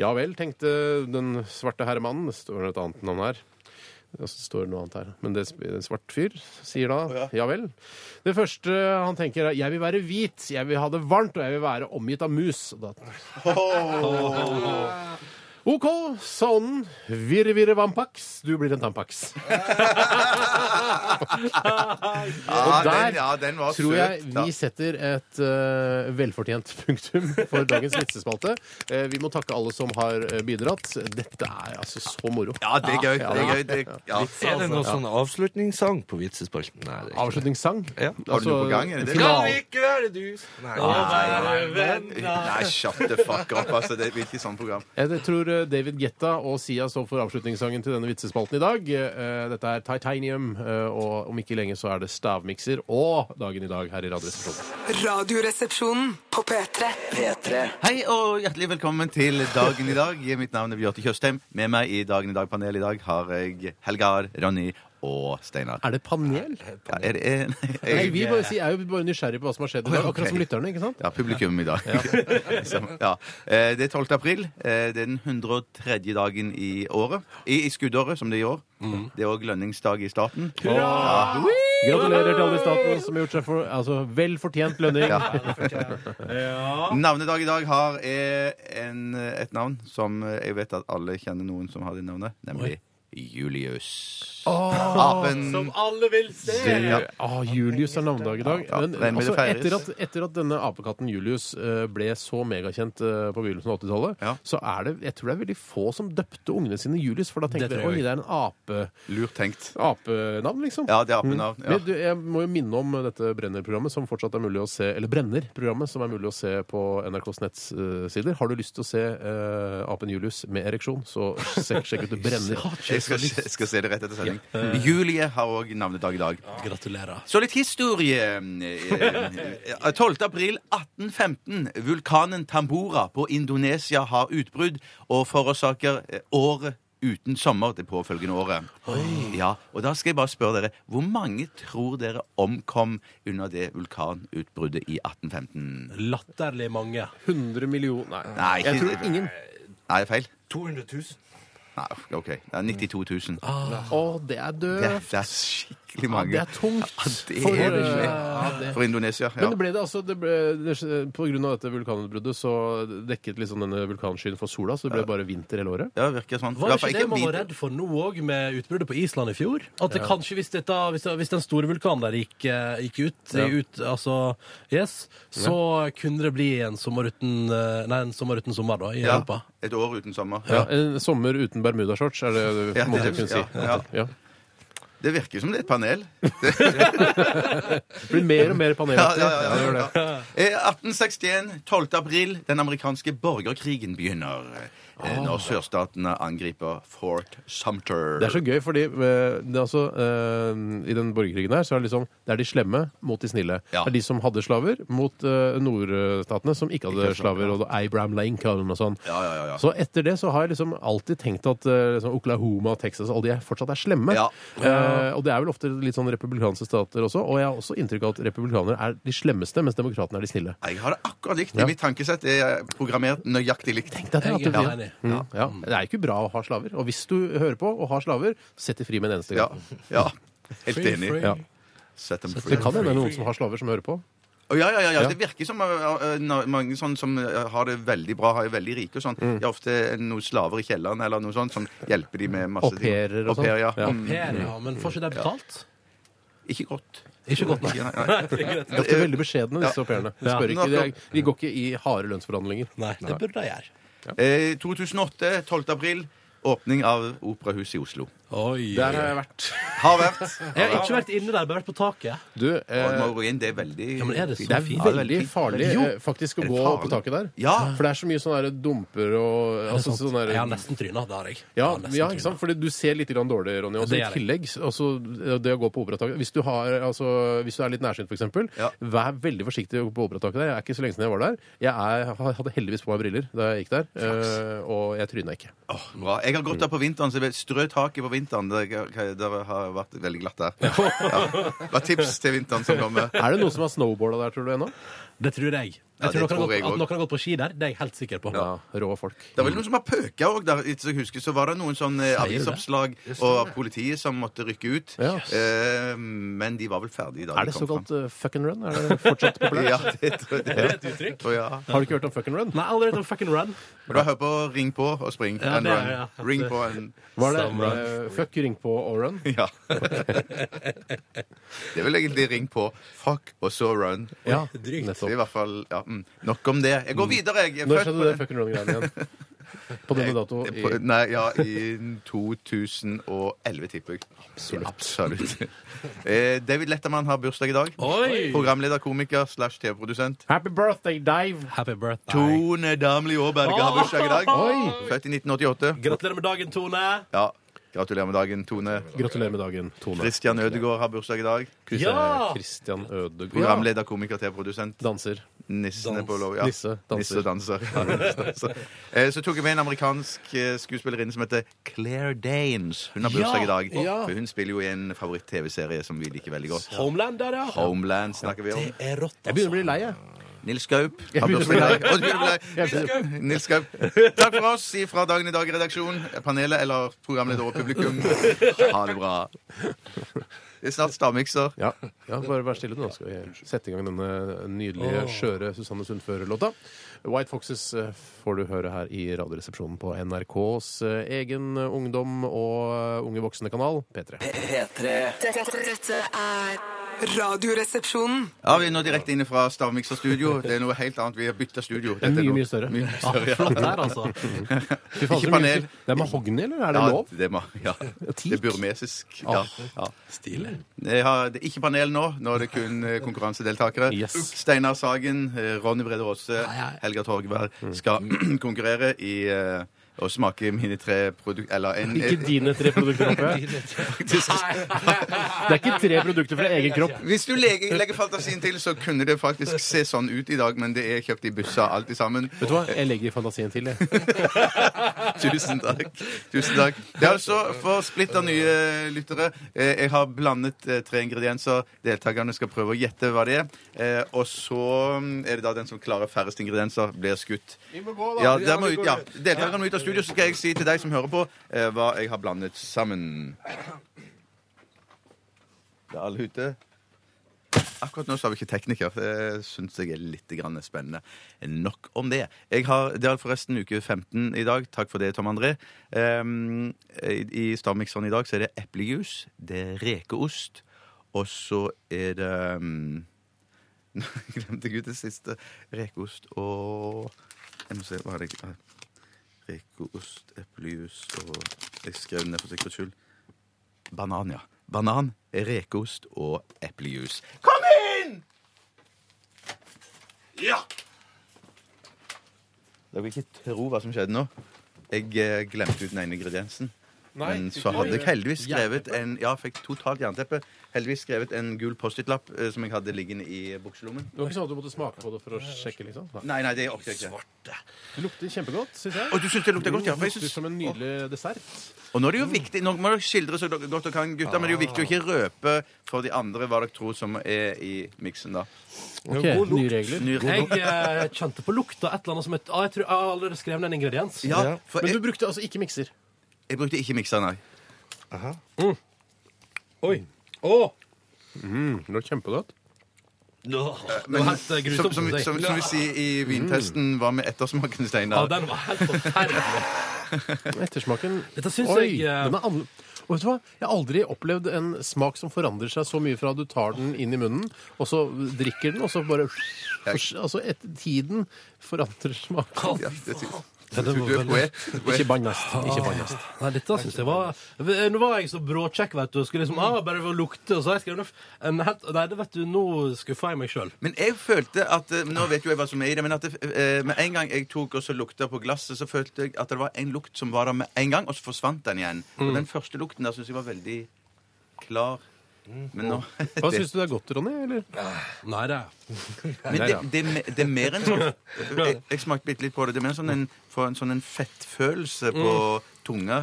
C: ja vel, tenkte den svarte herremannen. Det står et annet navn her. Og så står det noe annet her. Men det er en svart fyr sier da ja vel. Det første han tenker er jeg vil være hvit, jeg vil ha det varmt, og jeg vil være omgitt av mus. Og da OK, sa ånden. Virre, virre, vampax. Du blir en tampax.
D: Ja,
C: Og der
D: den, ja, den var
C: Tror jeg
D: søt. da.
C: vi setter et eh, velfortjent punktum for dagens vitsespalte. Eh, vi må takke alle som har eh, bidratt. Dette er altså så moro.
D: Ja, det er gøy. Det er gøy. Det, ja.
H: Er det noen sånn avslutningssang på vitsespalten? Nei, det er ikke det.
C: Avslutningssang. Altså,
H: Ja.
D: Har du noe på gang? Er det det?
H: Skal vi ikke være dus? Nei.
D: Nei, shut the fuck up, altså. Det blir ikke sånn program.
C: Jeg tror eh, David Getta og Sia står for avslutningssangen til denne vitsespalten i dag. Eh, Dette er Titanium, eh, og om ikke lenge så er det stavmikser og dagen i dag her i Radioresepsjonen.
G: Radioresepsjonen på P3.
B: P3
D: Hei og hjertelig velkommen til Dagen i dag. Mitt navn er Bjarte Tjøstheim. Med meg i Dagen i dag-panelet i dag har jeg Helgar, Ronny og Steinar.
C: Er det panel?
D: Ja, er det, er,
C: Nei, vi bare, si- er jo bare nysgjerrig på hva som har skjedd i dag,
D: Å, ja, ok.
C: akkurat som lytterne. ikke sant?
D: Ja, publikum i dag. Liksom, ja. Eh, Det er 12. april. Eh, Det er den 103. dagen
C: Mm.
D: i året. I, i skuddåret, som det er i år. Det er òg lønningsdag i staten. Ja.
C: Gratulerer til alle i staten som har gjort seg for, altså, vel fortjent lønning.
D: Ja. Navnedag i dag har eh, en, et navn som eh, jeg vet at alle kjenner noen som har det navnet, nemlig Julius. Apen.
E: Som alle vil se!
D: Ja.
C: Ah, Julius er navnedag i dag.
D: Ja,
C: Men
D: den vil
C: altså,
D: feires.
C: etter, at, etter at denne apekatten Julius eh, ble så megakjent eh, på begynnelsen av 80-tallet,
D: Ja.
C: så er det jeg tror det er veldig få som døpte ungene sine Julius. For da
F: Det
C: tenkte
F: tror
C: dere
F: jeg
C: oi, det er en ape,
D: Lurt tenkt.
C: apenavn, liksom.
D: Ja, det er apenavn. Ja.
C: Men du, jeg må jo minne om dette Brenner-programmet, som fortsatt er mulig å se Eller Brenner-programmet, som er mulig å se på NRKs nettsider. Har du lyst til å se eh, apen Julius med ereksjon, så sjekk, sjekk ut det Brenner.
D: Jeg skal, se- skal se det rett etter sending. Julie har òg navnedag i dag.
F: Gratulerer.
D: Så litt historie. Eh, 12. april 1815. Vulkanen Tambora på Indonesia har utbrudd og forårsaker eh, året uten sommer det påfølgende året. Ja, og da skal jeg bare spørre dere, Hvor mange tror dere omkom under det vulkanutbruddet i 1815?
F: Latterlig mange.
C: 100 millioner Nei.
D: Nei,
C: jeg
D: ikke-
C: tror ingen.
D: Nei, feil?
H: 200 000.
D: Nei, OK. Det er 92 000.
C: Å, det er
D: Det,
C: døvt.
D: det er skikkelig
C: Ja,
D: mange.
C: det er tungt.
D: Ja, det
C: For,
D: er det
C: eh,
D: ikke.
C: ja, det-
D: For Indonesia, ja.
C: Men det ble det altså det ble, det, På grunn av dette vulkanutbruddet så dekket liksom denne vulkanskyen for sola, så det ble bare vinter hele året.
D: Ja, det virker sånn.
F: Var
D: I
F: det
D: hvert fall
F: ikke det man var
D: hvit-
F: redd for nå òg, med utbruddet på Island i fjor? At det kanskje, hvis, dette, hvis, hvis den store vulkanen der gikk, eh, gikk ut, ut altså, yes, så kunne det bli en sommer uten, eh, nei, en sommer, uten sommer da, i
D: Ja,
F: Europa.
D: et år uten sommer.
C: Ja, en sommer uten bermudashorts, er det du
D: Ja, det-
C: måtte kunne si.
D: ja,
C: Ja.
D: Det virker som det er et panel.
C: Det blir mer og mer panelaktig.
D: Ja, ja, ja, ja.
C: det gjør det.
D: Eh, 1861, 12. april, den amerikanske borgerkrigen begynner.
C: Ah.
D: eh, Når sørstatene angriper Fort Sumter.
C: Det er så gøy, fordi eh, det er altså, eh, i den borgerkrigen her, så er det liksom det er de slemme mot de snille.
D: Ja.
C: Det er de som hadde slaver, mot eh, nordstatene som ikke hadde
D: Ikke slaver,
C: slaver. Og Abraham Lincoln og sånn.
D: Ja, ja, ja, ja.
C: Så etter det så har jeg liksom alltid tenkt at eh, liksom Oklahoma og Texas alle de er fortsatt er slemme.
D: Ja.
C: Eh, og det er vel ofte litt sånn republikanske stater også. Og jeg har også inntrykk av at republikanere er de slemmeste, mens demokratene er de snille.
D: Jeg har det akkurat likt.
C: Ja.
D: Mitt tankesett er programmert nøyaktig likt.
C: Tenk deg det, at du
F: Jeg er
C: blir-
F: enig.
C: Mm, ja. Det er ikke bra å ha slaver. Og hvis du hører på og har slaver, sett de fri med en eneste
D: Ja,
C: gang.
D: ja. Helt
F: Free,
D: enig.
F: free.
C: Ja.
D: Set them free.
C: Det kan hende det er noen som har slaver, som hører på.
D: Å, ja, ja, ja, ja.
C: Ja.
D: Det virker som eh, eh, na- mange sånn som eh, har det veldig bra, har er veldig rike og sånn.
F: Mm.
D: De er ofte noen slaver i kjelleren eller noe sånt som hjelper de med masse
C: Au pairer og
D: Au pair,
C: sånn.
D: ja.
C: Ja.
D: Mm.
F: Per, ja, men får ikke de betalt?
D: Ikke godt.
F: Ikke godt nok.
D: Nei, nei.
C: De er ofte veldig beskjedne, disse au pairene. De,
F: Ja.
C: spør ikke, de,
D: Nok
C: er, de går ikke i harde lønnsforhandlinger.
F: Nei, det burde de gjøre.
D: Eh, 2008, 12. april, åpning av Operahuset i Oslo.
F: Oi.
C: Der har jeg vært.
D: Har vært.
F: Jeg har ikke vært inne der, bare vært på taket.
C: Du, eh,
D: Og må gå inn, det er veldig
F: Ja, men er det så
C: det er
F: fint?
D: Ja, det er
C: veldig
D: fint.
C: farlig
D: Jo.
C: eh, faktisk å
D: Er det
C: gå
D: farlig?
C: på taket der.
D: Ja.
C: For det er så mye sånne der dumper og
F: Er det
C: altså,
F: sant?
C: sånne der,
F: Jeg har nesten tryna, det har jeg. Jeg
C: ja,
F: har nesten
C: ja, ikke sant?
F: trynet.
C: Fordi du ser litt grann dårlig, Ronny. Også,
F: Det
C: I
F: gjør jeg.
C: tillegg, altså, det å gå på operataket hvis, du har, altså, hvis du er litt nærsynt, f.eks.,
D: Ja.
C: vær veldig forsiktig å gå på operataket der. Jeg er ikke så lenge siden jeg var der. Jeg er, hadde heldigvis på meg briller da jeg gikk der, eh, og jeg tryna ikke.
D: Åh, bra. Jeg har gått der på vinteren, så jeg vet- strø taket på vinteren. Det, det har vært veldig glatt der. Ja. Det var tips til vinteren som kommer.
C: Er det noen som har snowboarda der, tror du, ennå?
F: Det tror jeg.
D: Ja,
F: Jeg
D: det
F: tror noen har
D: tror
F: gått-
D: jeg også.
F: at noen har gått på ski der. Det er jeg helt sikker på.
C: Ja, rå folk.
D: Det var vel noen som har pøka òg der. etter som jeg husker, så var det noen sånn eh,
F: du det?
D: avisoppslag og politiet som måtte rykke ut.
C: Ja.
D: Eh, men de var vel ferdige da
C: Er det
D: de kom fram.
C: såkalt uh, fuck and run? Er det fortsatt populært?
D: Ja, det tror jeg.
F: Er det et uttrykk?
D: Å, ja.
C: Har du ikke hørt om fuck and run?
F: Nei, allerede om fucking run.
D: Men da hør på Ring på og spring.
F: Ja,
D: and
F: det er-
D: run.
F: ja.
D: Ring på and
C: Var det
F: Stemmer.
C: eh, fuck, ring på og run?
D: Ja. det er vel egentlig Ring på, fuck og så run.
C: Ja,
F: drygt.
D: Det er i
C: nettopp.
D: hvert fall ja, mm. Nok om det. Jeg går videre, jeg. jeg. er
C: Når
D: født på
C: skjedde det
D: den-
C: fuck and run-greiene igjen? På denne dato i
D: På- Nei, ja, i 2011, tipper jeg. Absolutt. Eh, David Letterman har bursdag i dag.
F: Oi!
D: Programleder, komiker slash TV-produsent.
C: Happy birthday, Dive!
F: Happy birthday.
D: Tone Damli Aaberge har bursdag i dag.
C: Oi!
D: Født i 1988.
F: Gratulerer med dagen, Tone.
D: Ja, Gratulerer med dagen, Tone.
C: Gratulerer med dagen, Tone. Eh,
D: Christian Ødegaard har bursdag i dag.
F: Ja!
C: Kristian Ødegaard.
D: Programleder, komiker, TV-produsent.
C: Danser.
D: Nissene
F: Dans.
D: på lov, ja.
C: Nisse danser.
D: Nisse danser. Ja, nisse danser. Eh, Så tok jeg med en amerikansk eh, skuespillerinne som heter Claire Danes. Hun har bursdag i dag.
C: ja.
D: For hun spiller jo i en favoritt-TV-serie som vi liker veldig godt.
F: Homeland der, ja.
D: Homeland snakker vi om.
F: Det er rått,
C: Jeg begynner
F: altså.
C: å bli lei, jeg.
D: Nils Gaup
C: Jeg
D: har
C: begynner
D: bursdag i dag.
C: å
D: Å, du begynner å bli lei.
C: Jeg begynner-
D: Nils Gaup. Takk for oss fra Dagen i dag-redaksjon. Panelet eller programleder og publikum. Ha det bra. Det er snart stavmikser.
C: Ja. ja, bare vær stille nå, skal vi sette i gang denne nydelige,
D: Åh.
C: skjøre Susanne Sundfør-låta. White Foxes eh, får du høre her i Radioresepsjonen på NRKs eh, egen ungdom og eh, unge voksne-kanal,
B: P3.
C: P3.
G: Dette, dette er Radioresepsjonen.
D: Ja, Vi er nå direkte inne fra Stavmikser studio. Det er noe helt annet. Vi har bytta studio.
C: Det er mye, mye større.
D: ja.
C: Ah, flott her, altså. Fy faen, så
D: Ikke
C: mye-
D: panel.
C: Det er mahogni, eller er det
D: ja,
C: lov?
D: Det er, ma- ja. det er burmesisk. Ja.
C: Ah.
D: Ja.
H: Stilig.
D: Jeg har, det er ikke panel nå. Nå er det kun eh, konkurransedeltakere. Steinar Sagen, eh, Ronny Brede Aase, Helga Torgvær
C: Mm.
D: skal konkurrere i eh, å smake mine tre produkter Eller en
C: Ikke dine tre produkter, håper jeg. Det er ikke tre produkter fra egen kropp.
D: Hvis du legger, legger fantasien til, så kunne det faktisk se sånn ut i dag, men det er kjøpt i busser, alt i sammen.
C: Vet du hva? Jeg legger fantasien til, jeg.
D: Tusen takk. Tusen takk. Det er altså for splitter nye lyttere. Eh, Jeg har blandet eh, tre ingredienser. Deltakerne skal prøve å gjette hva det er. Eh, Og så mm, er det da den som klarer færrest ingredienser, blir skutt.
C: Vi må gå, da.
D: Ja,
C: Ja,
D: der må
C: vi
D: ut,
C: går
D: ja.
C: ut.
D: Deltakerne må ut av studio, så skal jeg si til deg som hører på, eh, hva jeg har blandet sammen. Det er alle ute. Akkurat nå så har vi ikke tekniker. Det syns jeg er litt grann spennende. Nok om det. Jeg har, det er forresten uke 15 i dag. Takk for det, Tom André. Ehm, I i stavmikseren i dag så er det eplejus, det er rekeost, og så er det um, Glemte jeg ut det siste. Rekeost og Jeg må se, hva er det jeg- Rekeost, eplejus og Jeg skrev det ned for sikkerhets skyld. Banan, ja. Banan, rekeost og eplejus. Kom inn! Ja! Dere vil ikke tro hva som skjedde nå. Jeg eh, glemte ut den ene ingrediensen.
C: Nei,
D: Men
C: fikk
D: så
C: du-
D: hadde jeg heldigvis skrevet
C: Jernteppe?
D: en Ja, fikk totalt jernteppe. Heldigvis skrevet en gul Post-It-lapp eh, som jeg hadde liggende i bukselommen.
C: Det var ikke sånn at du måtte smake på det for å sjekke, liksom?
D: Nei, nei, det orker jeg ikke.
C: Det lukter kjempegodt, syns jeg.
D: Å, du synes det lukter godt, ja, for jeg
C: Det lukter
D: synes-
C: som en nydelig dessert.
D: Og nå er det jo
F: Mm.
D: viktig, nå må dere skildre så dere- godt dere kan, gutter, men det er jo
F: Ah.
D: viktig å ikke røpe for de andre hva dere tror som er i miksen, da.
C: Ok, God lukt. nye regler.
D: Nye
F: Jeg
D: regler.
F: eh, kjente på lukta et eller annet som et ah, Jeg tror jeg har allerede skrev ned en ingrediens.
D: Ja, for
C: Men
D: jeg,
C: du brukte altså ikke mikser.
D: jeg brukte ikke mikser, nei.
F: Oi. Åh!
C: Mm, det var kjempegodt.
F: Nå, det
D: Men
F: var helt eh,
D: som,
F: grusomt.
D: som,
F: synes jeg. Mm.
D: som, som vi sier i vintesten, hva med ettersmaken,
F: Ja,
D: Steinar?
F: den var helt forferdelig.
C: Ettersmaken
F: Dette syns
C: Oi,
F: jeg, eh,
C: den er annerl- og vet du hva? Jeg har aldri opplevd en smak som forandrer seg så mye fra du tar den inn i munnen, og så drikker den, og så bare Altså, et, tiden forandrer smaken.
D: Ja, det syns
F: Ja, det var
D: Du er
F: veldig-
D: poet.
C: Ikke bannast. Ikke bannast.
F: Nei, dette synes jeg var Eh, Nå var jeg så bråkjekk, vet du. Og skulle liksom ah, bare ved å lukte, og så har jeg skrevet ned en helt Nei, det vet du, nå skuffa jeg meg sjøl.
D: Men jeg følte at eh, Nå vet jo jeg hva som er i det, men at det, eh, med en gang jeg tok og så lukta på glasset, så følte jeg at det var en lukt som var der med en gang, og så forsvant den igjen.
F: Mm.
D: Og den første lukten der syns jeg var veldig klar.
F: Mm.
D: Men nå
C: Hva
D: det-
C: syns du det er godt, Ronny? Eller?
F: Nei, det
D: Men det, det, er me- det er mer enn sånn jeg, jeg smakte bitte litt på det. Det er mer sånn en, for en, sånn en fettfølelse på
C: Mm.
D: tunga.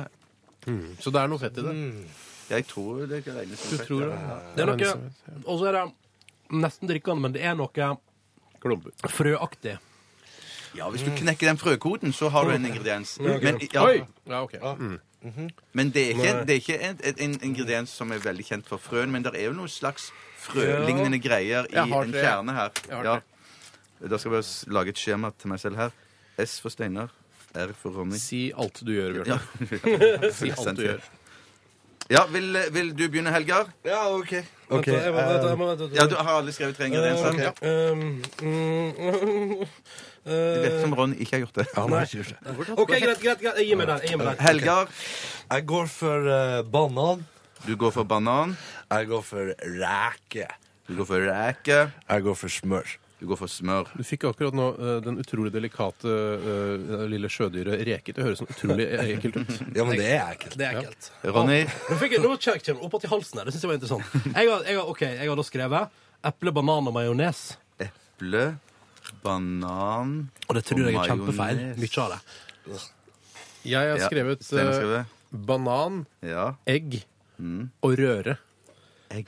C: Så det er noe fett i det.
D: Jeg tror det kan regnes som
C: Du
D: fett.
C: tror
D: ja.
C: det?
F: Det er noe Og så er det nesten drikkende, men det er noe
C: Klumper.
F: frøaktig.
D: Ja, Hvis du knekker den frøkoden, så har du en ingrediens. Men, ja,
C: Mm. Oi! Ja, ok. Mm.
D: men det er ikke, det er ikke en, en, en ingrediens som er veldig kjent for frøen, men det er jo noe slags frølignende greier i
C: Jeg har
D: en
C: tre.
D: kjerne her.
C: Jeg har
D: Ja. Da skal jeg bare s- lage et skjema til meg selv her. S for Steinar, R for Ronny.
C: Si alt du gjør, Bjørn.
D: Ja,
C: Si alt du gjør.
D: ja vil, vil du begynne, Helgar?
H: Ja, OK. eh,
F: Vent, da, jeg må- vent, da, jeg må- vent, da,
D: Ja, Du har alle skrevet tre ingredienser.
H: ok.
D: Ja.
F: Um, mm,
D: Det virker
F: eh,
D: som Ronny ikke har gjort det.
H: Han har ikke gjort det.
F: OK, greit, greit. greit. Jeg gir meg den. Jeg gir meg den.
D: Helgar,
H: Jeg går for eh, banan.
D: du går for banan.
H: Jeg går for reke.
D: Du går for reke.
H: Jeg går for smør.
D: Du går for smør.
C: Du fikk akkurat nå eh, den utrolig delikate eh, lille sjødyret reke. Det høres sånn utrolig ekkelt ut.
H: Ja, men det er ekkelt.
F: Det er ekkelt.
D: Ronny,
F: Nå fikk jeg, nå kjem kjem opp til halsen her. Det syns jeg var interessant. Jeg har, jeg har, ok, jeg har da skrevet eple, banan og majones.
D: eple, banan
F: Og det tror jeg er kjempefeil.
D: majones.
F: Mye av det.
C: Jeg har
D: Ja,
C: skrevet
D: Steinar skrev
C: eh,
D: det.
C: banan,
D: Ja.
C: egg og røre.
D: Egg.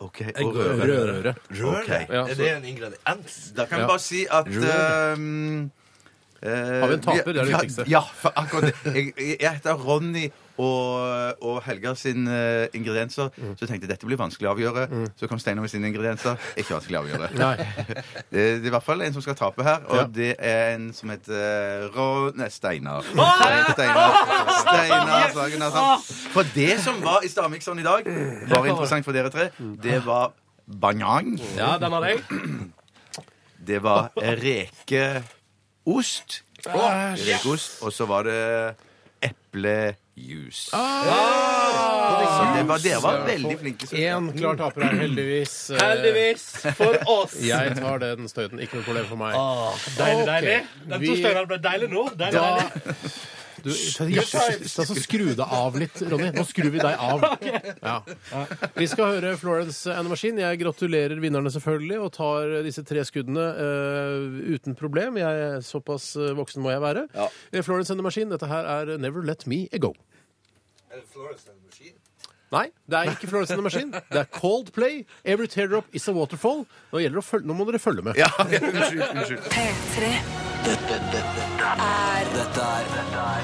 D: OK.
F: Egg
D: Mm. Og
F: og
D: røre.
C: Røre.
H: Røre?
D: Ok.
C: Ja,
H: Er
C: så-
H: det en ingrediens?
D: Da kan
C: Ja.
D: vi bare si at
H: Røre.
D: ehm, eh,
C: vi en taper? Det er det viktigste.
D: Ja, for akkurat det. Jeg, jeg heter Ronny og, og Helga sin eh, ingredienser.
F: Mm.
D: Så tenkte jeg dette blir vanskelig å avgjøre. Så kom Steinar med sine ingredienser. Ikke vanskelig å avgjøre.
C: Nei.
D: det, det er i hvert fall en som skal tape her, og det er en som heter eh, Rå... Nei, Steinar. Steinar, Steinar, Steinar Sagen er sant. For det som var i Stavmikseren i dag,
F: Mm.
D: var interessant for dere tre. Det var banan.
F: Ja, den har jeg.
D: Det var rekeost.
F: Åh, yes!
D: Rekeost. Og så var det eplejus. Så
C: Ah!
D: det var, dere var veldig flinke. søsken.
L: Mm.
C: Én klar taper her, heldigvis. Eh,
L: Heldigvis for oss.
C: Jeg tar den støyten. Ikke noe problem for meg.
L: Ah, Deilig, deilig.
C: Ok,
L: De
C: vi-
L: to støynene ble deilig nå. Deilig,
C: Da-
L: deilig.
C: Du, ta- ta- ta- skru deg av litt, Ronny. Nå skrur vi deg av. Ja. Vi skal høre Florence and the Machine. Jeg gratulerer vinnerne selvfølgelig og tar disse tre skuddene eh, uten problem. Jeg er Såpass eh, voksen må jeg være. Eh, Florence and the Machine, dette her er Never Let Me A Go. Nei, det er ikke Florence and the Machine. Det er Coldplay. Every teardrop is a waterfall. Nå, gjelder det å følge, nå må dere følge med.
G: P3
B: Dette, dette, er Dette er dette er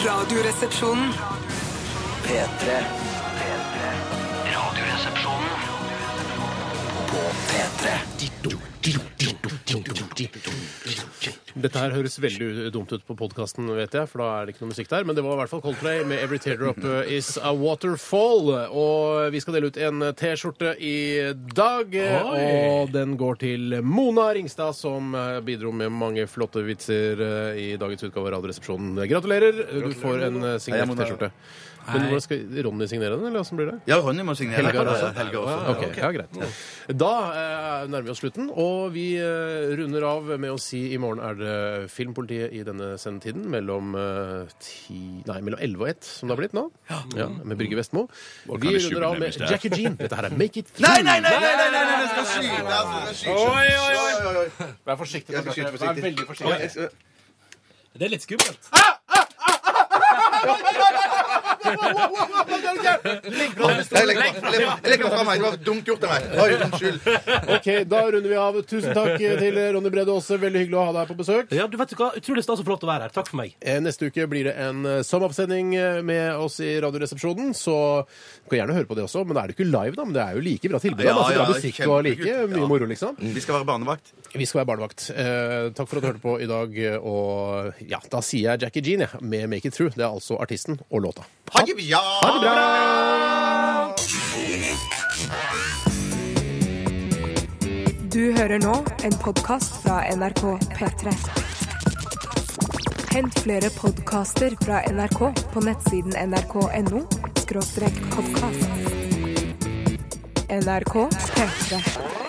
G: Radioresepsjonen.
B: P3. P3. Radioresepsjonen. På P3.
C: Dette her høres veldig dumt ut på podkasten, vet jeg, for da er det ikke noe musikk der. Men det var i hvert fall Coldplay med 'Every Teardrop eh, Is A Waterfall'. Og vi skal dele ut en eh, T-skjorte i dag. eh, Og den går til Mona Ringstad, som eh, bidro med mange flotte vitser eh, i dagens utgave av Radioresepsjonen. Gratulerer! Du får en eh,
D: Hei,
C: signert
D: Mona.
C: T-skjorte. Men hvordan skal Ronny signere den, eller hvordan blir det?
D: Ja, Ronny må signere.
C: Helga
D: Helga
C: også?
D: også. Helga også.
C: Ah, ok, ja, greit. Da eh, nærmer vi oss slutten, og vi eh, runder av med å si i morgen er det Filmpolitiet i denne sendetiden mellom, eh, ti, nei, mellom 11 og 1, som det har blitt nå, ja, med Brygge Vestmo.
M: Hva
C: Vi
M: kan det tjuven
C: runder av
M: nemlig
C: med
M: stå?
C: Jackie Jean. Dette her er Make It
D: Nei, nei, nei!
C: Feel.
D: nei, nei, nei, nei, Jeg skal skyte! altså, jeg skal skyte.
C: Oi, oi, oi.
D: Oi, oi, oi.
C: Vær forsiktig.
D: Jeg skal skyte
C: Vær veldig forsiktig.
D: Ja, jeg skal-
F: Det er litt skummelt.
D: Jeg legger den fra meg. Det var dumt gjort av meg. Oi, unnskyld.
C: Ok, da runder vi av. Tusen takk eh, til Ronny Brede Aase. Veldig hyggelig å ha deg her på besøk.
F: Ja, du vet hva? Utrolig stas og flott å være her. Takk for meg.
C: Eh, Neste uke blir det en eh, sommeroppsending eh, med oss i Radioresepsjonen, så du kan gjerne høre på det også. Men det er det ikke live, da. Men det er jo like bra tilbud. da. Masse bra musikk og like mye moro, liksom.
D: Vi skal være barnevakt.
C: Vi skal være barnevakt. Eh, takk for at du hørte på i dag. eh, Og ja, da sier jeg Jackie Jean, jeg, med Make It Through. Det er altså artisten og låta.
D: Ha det bra!
C: Ha det
D: bra!
A: Du hører nå en podkast fra NRK P3. Hent flere podkaster fra NRK på nettsiden nrk.no podkast. NRK P3.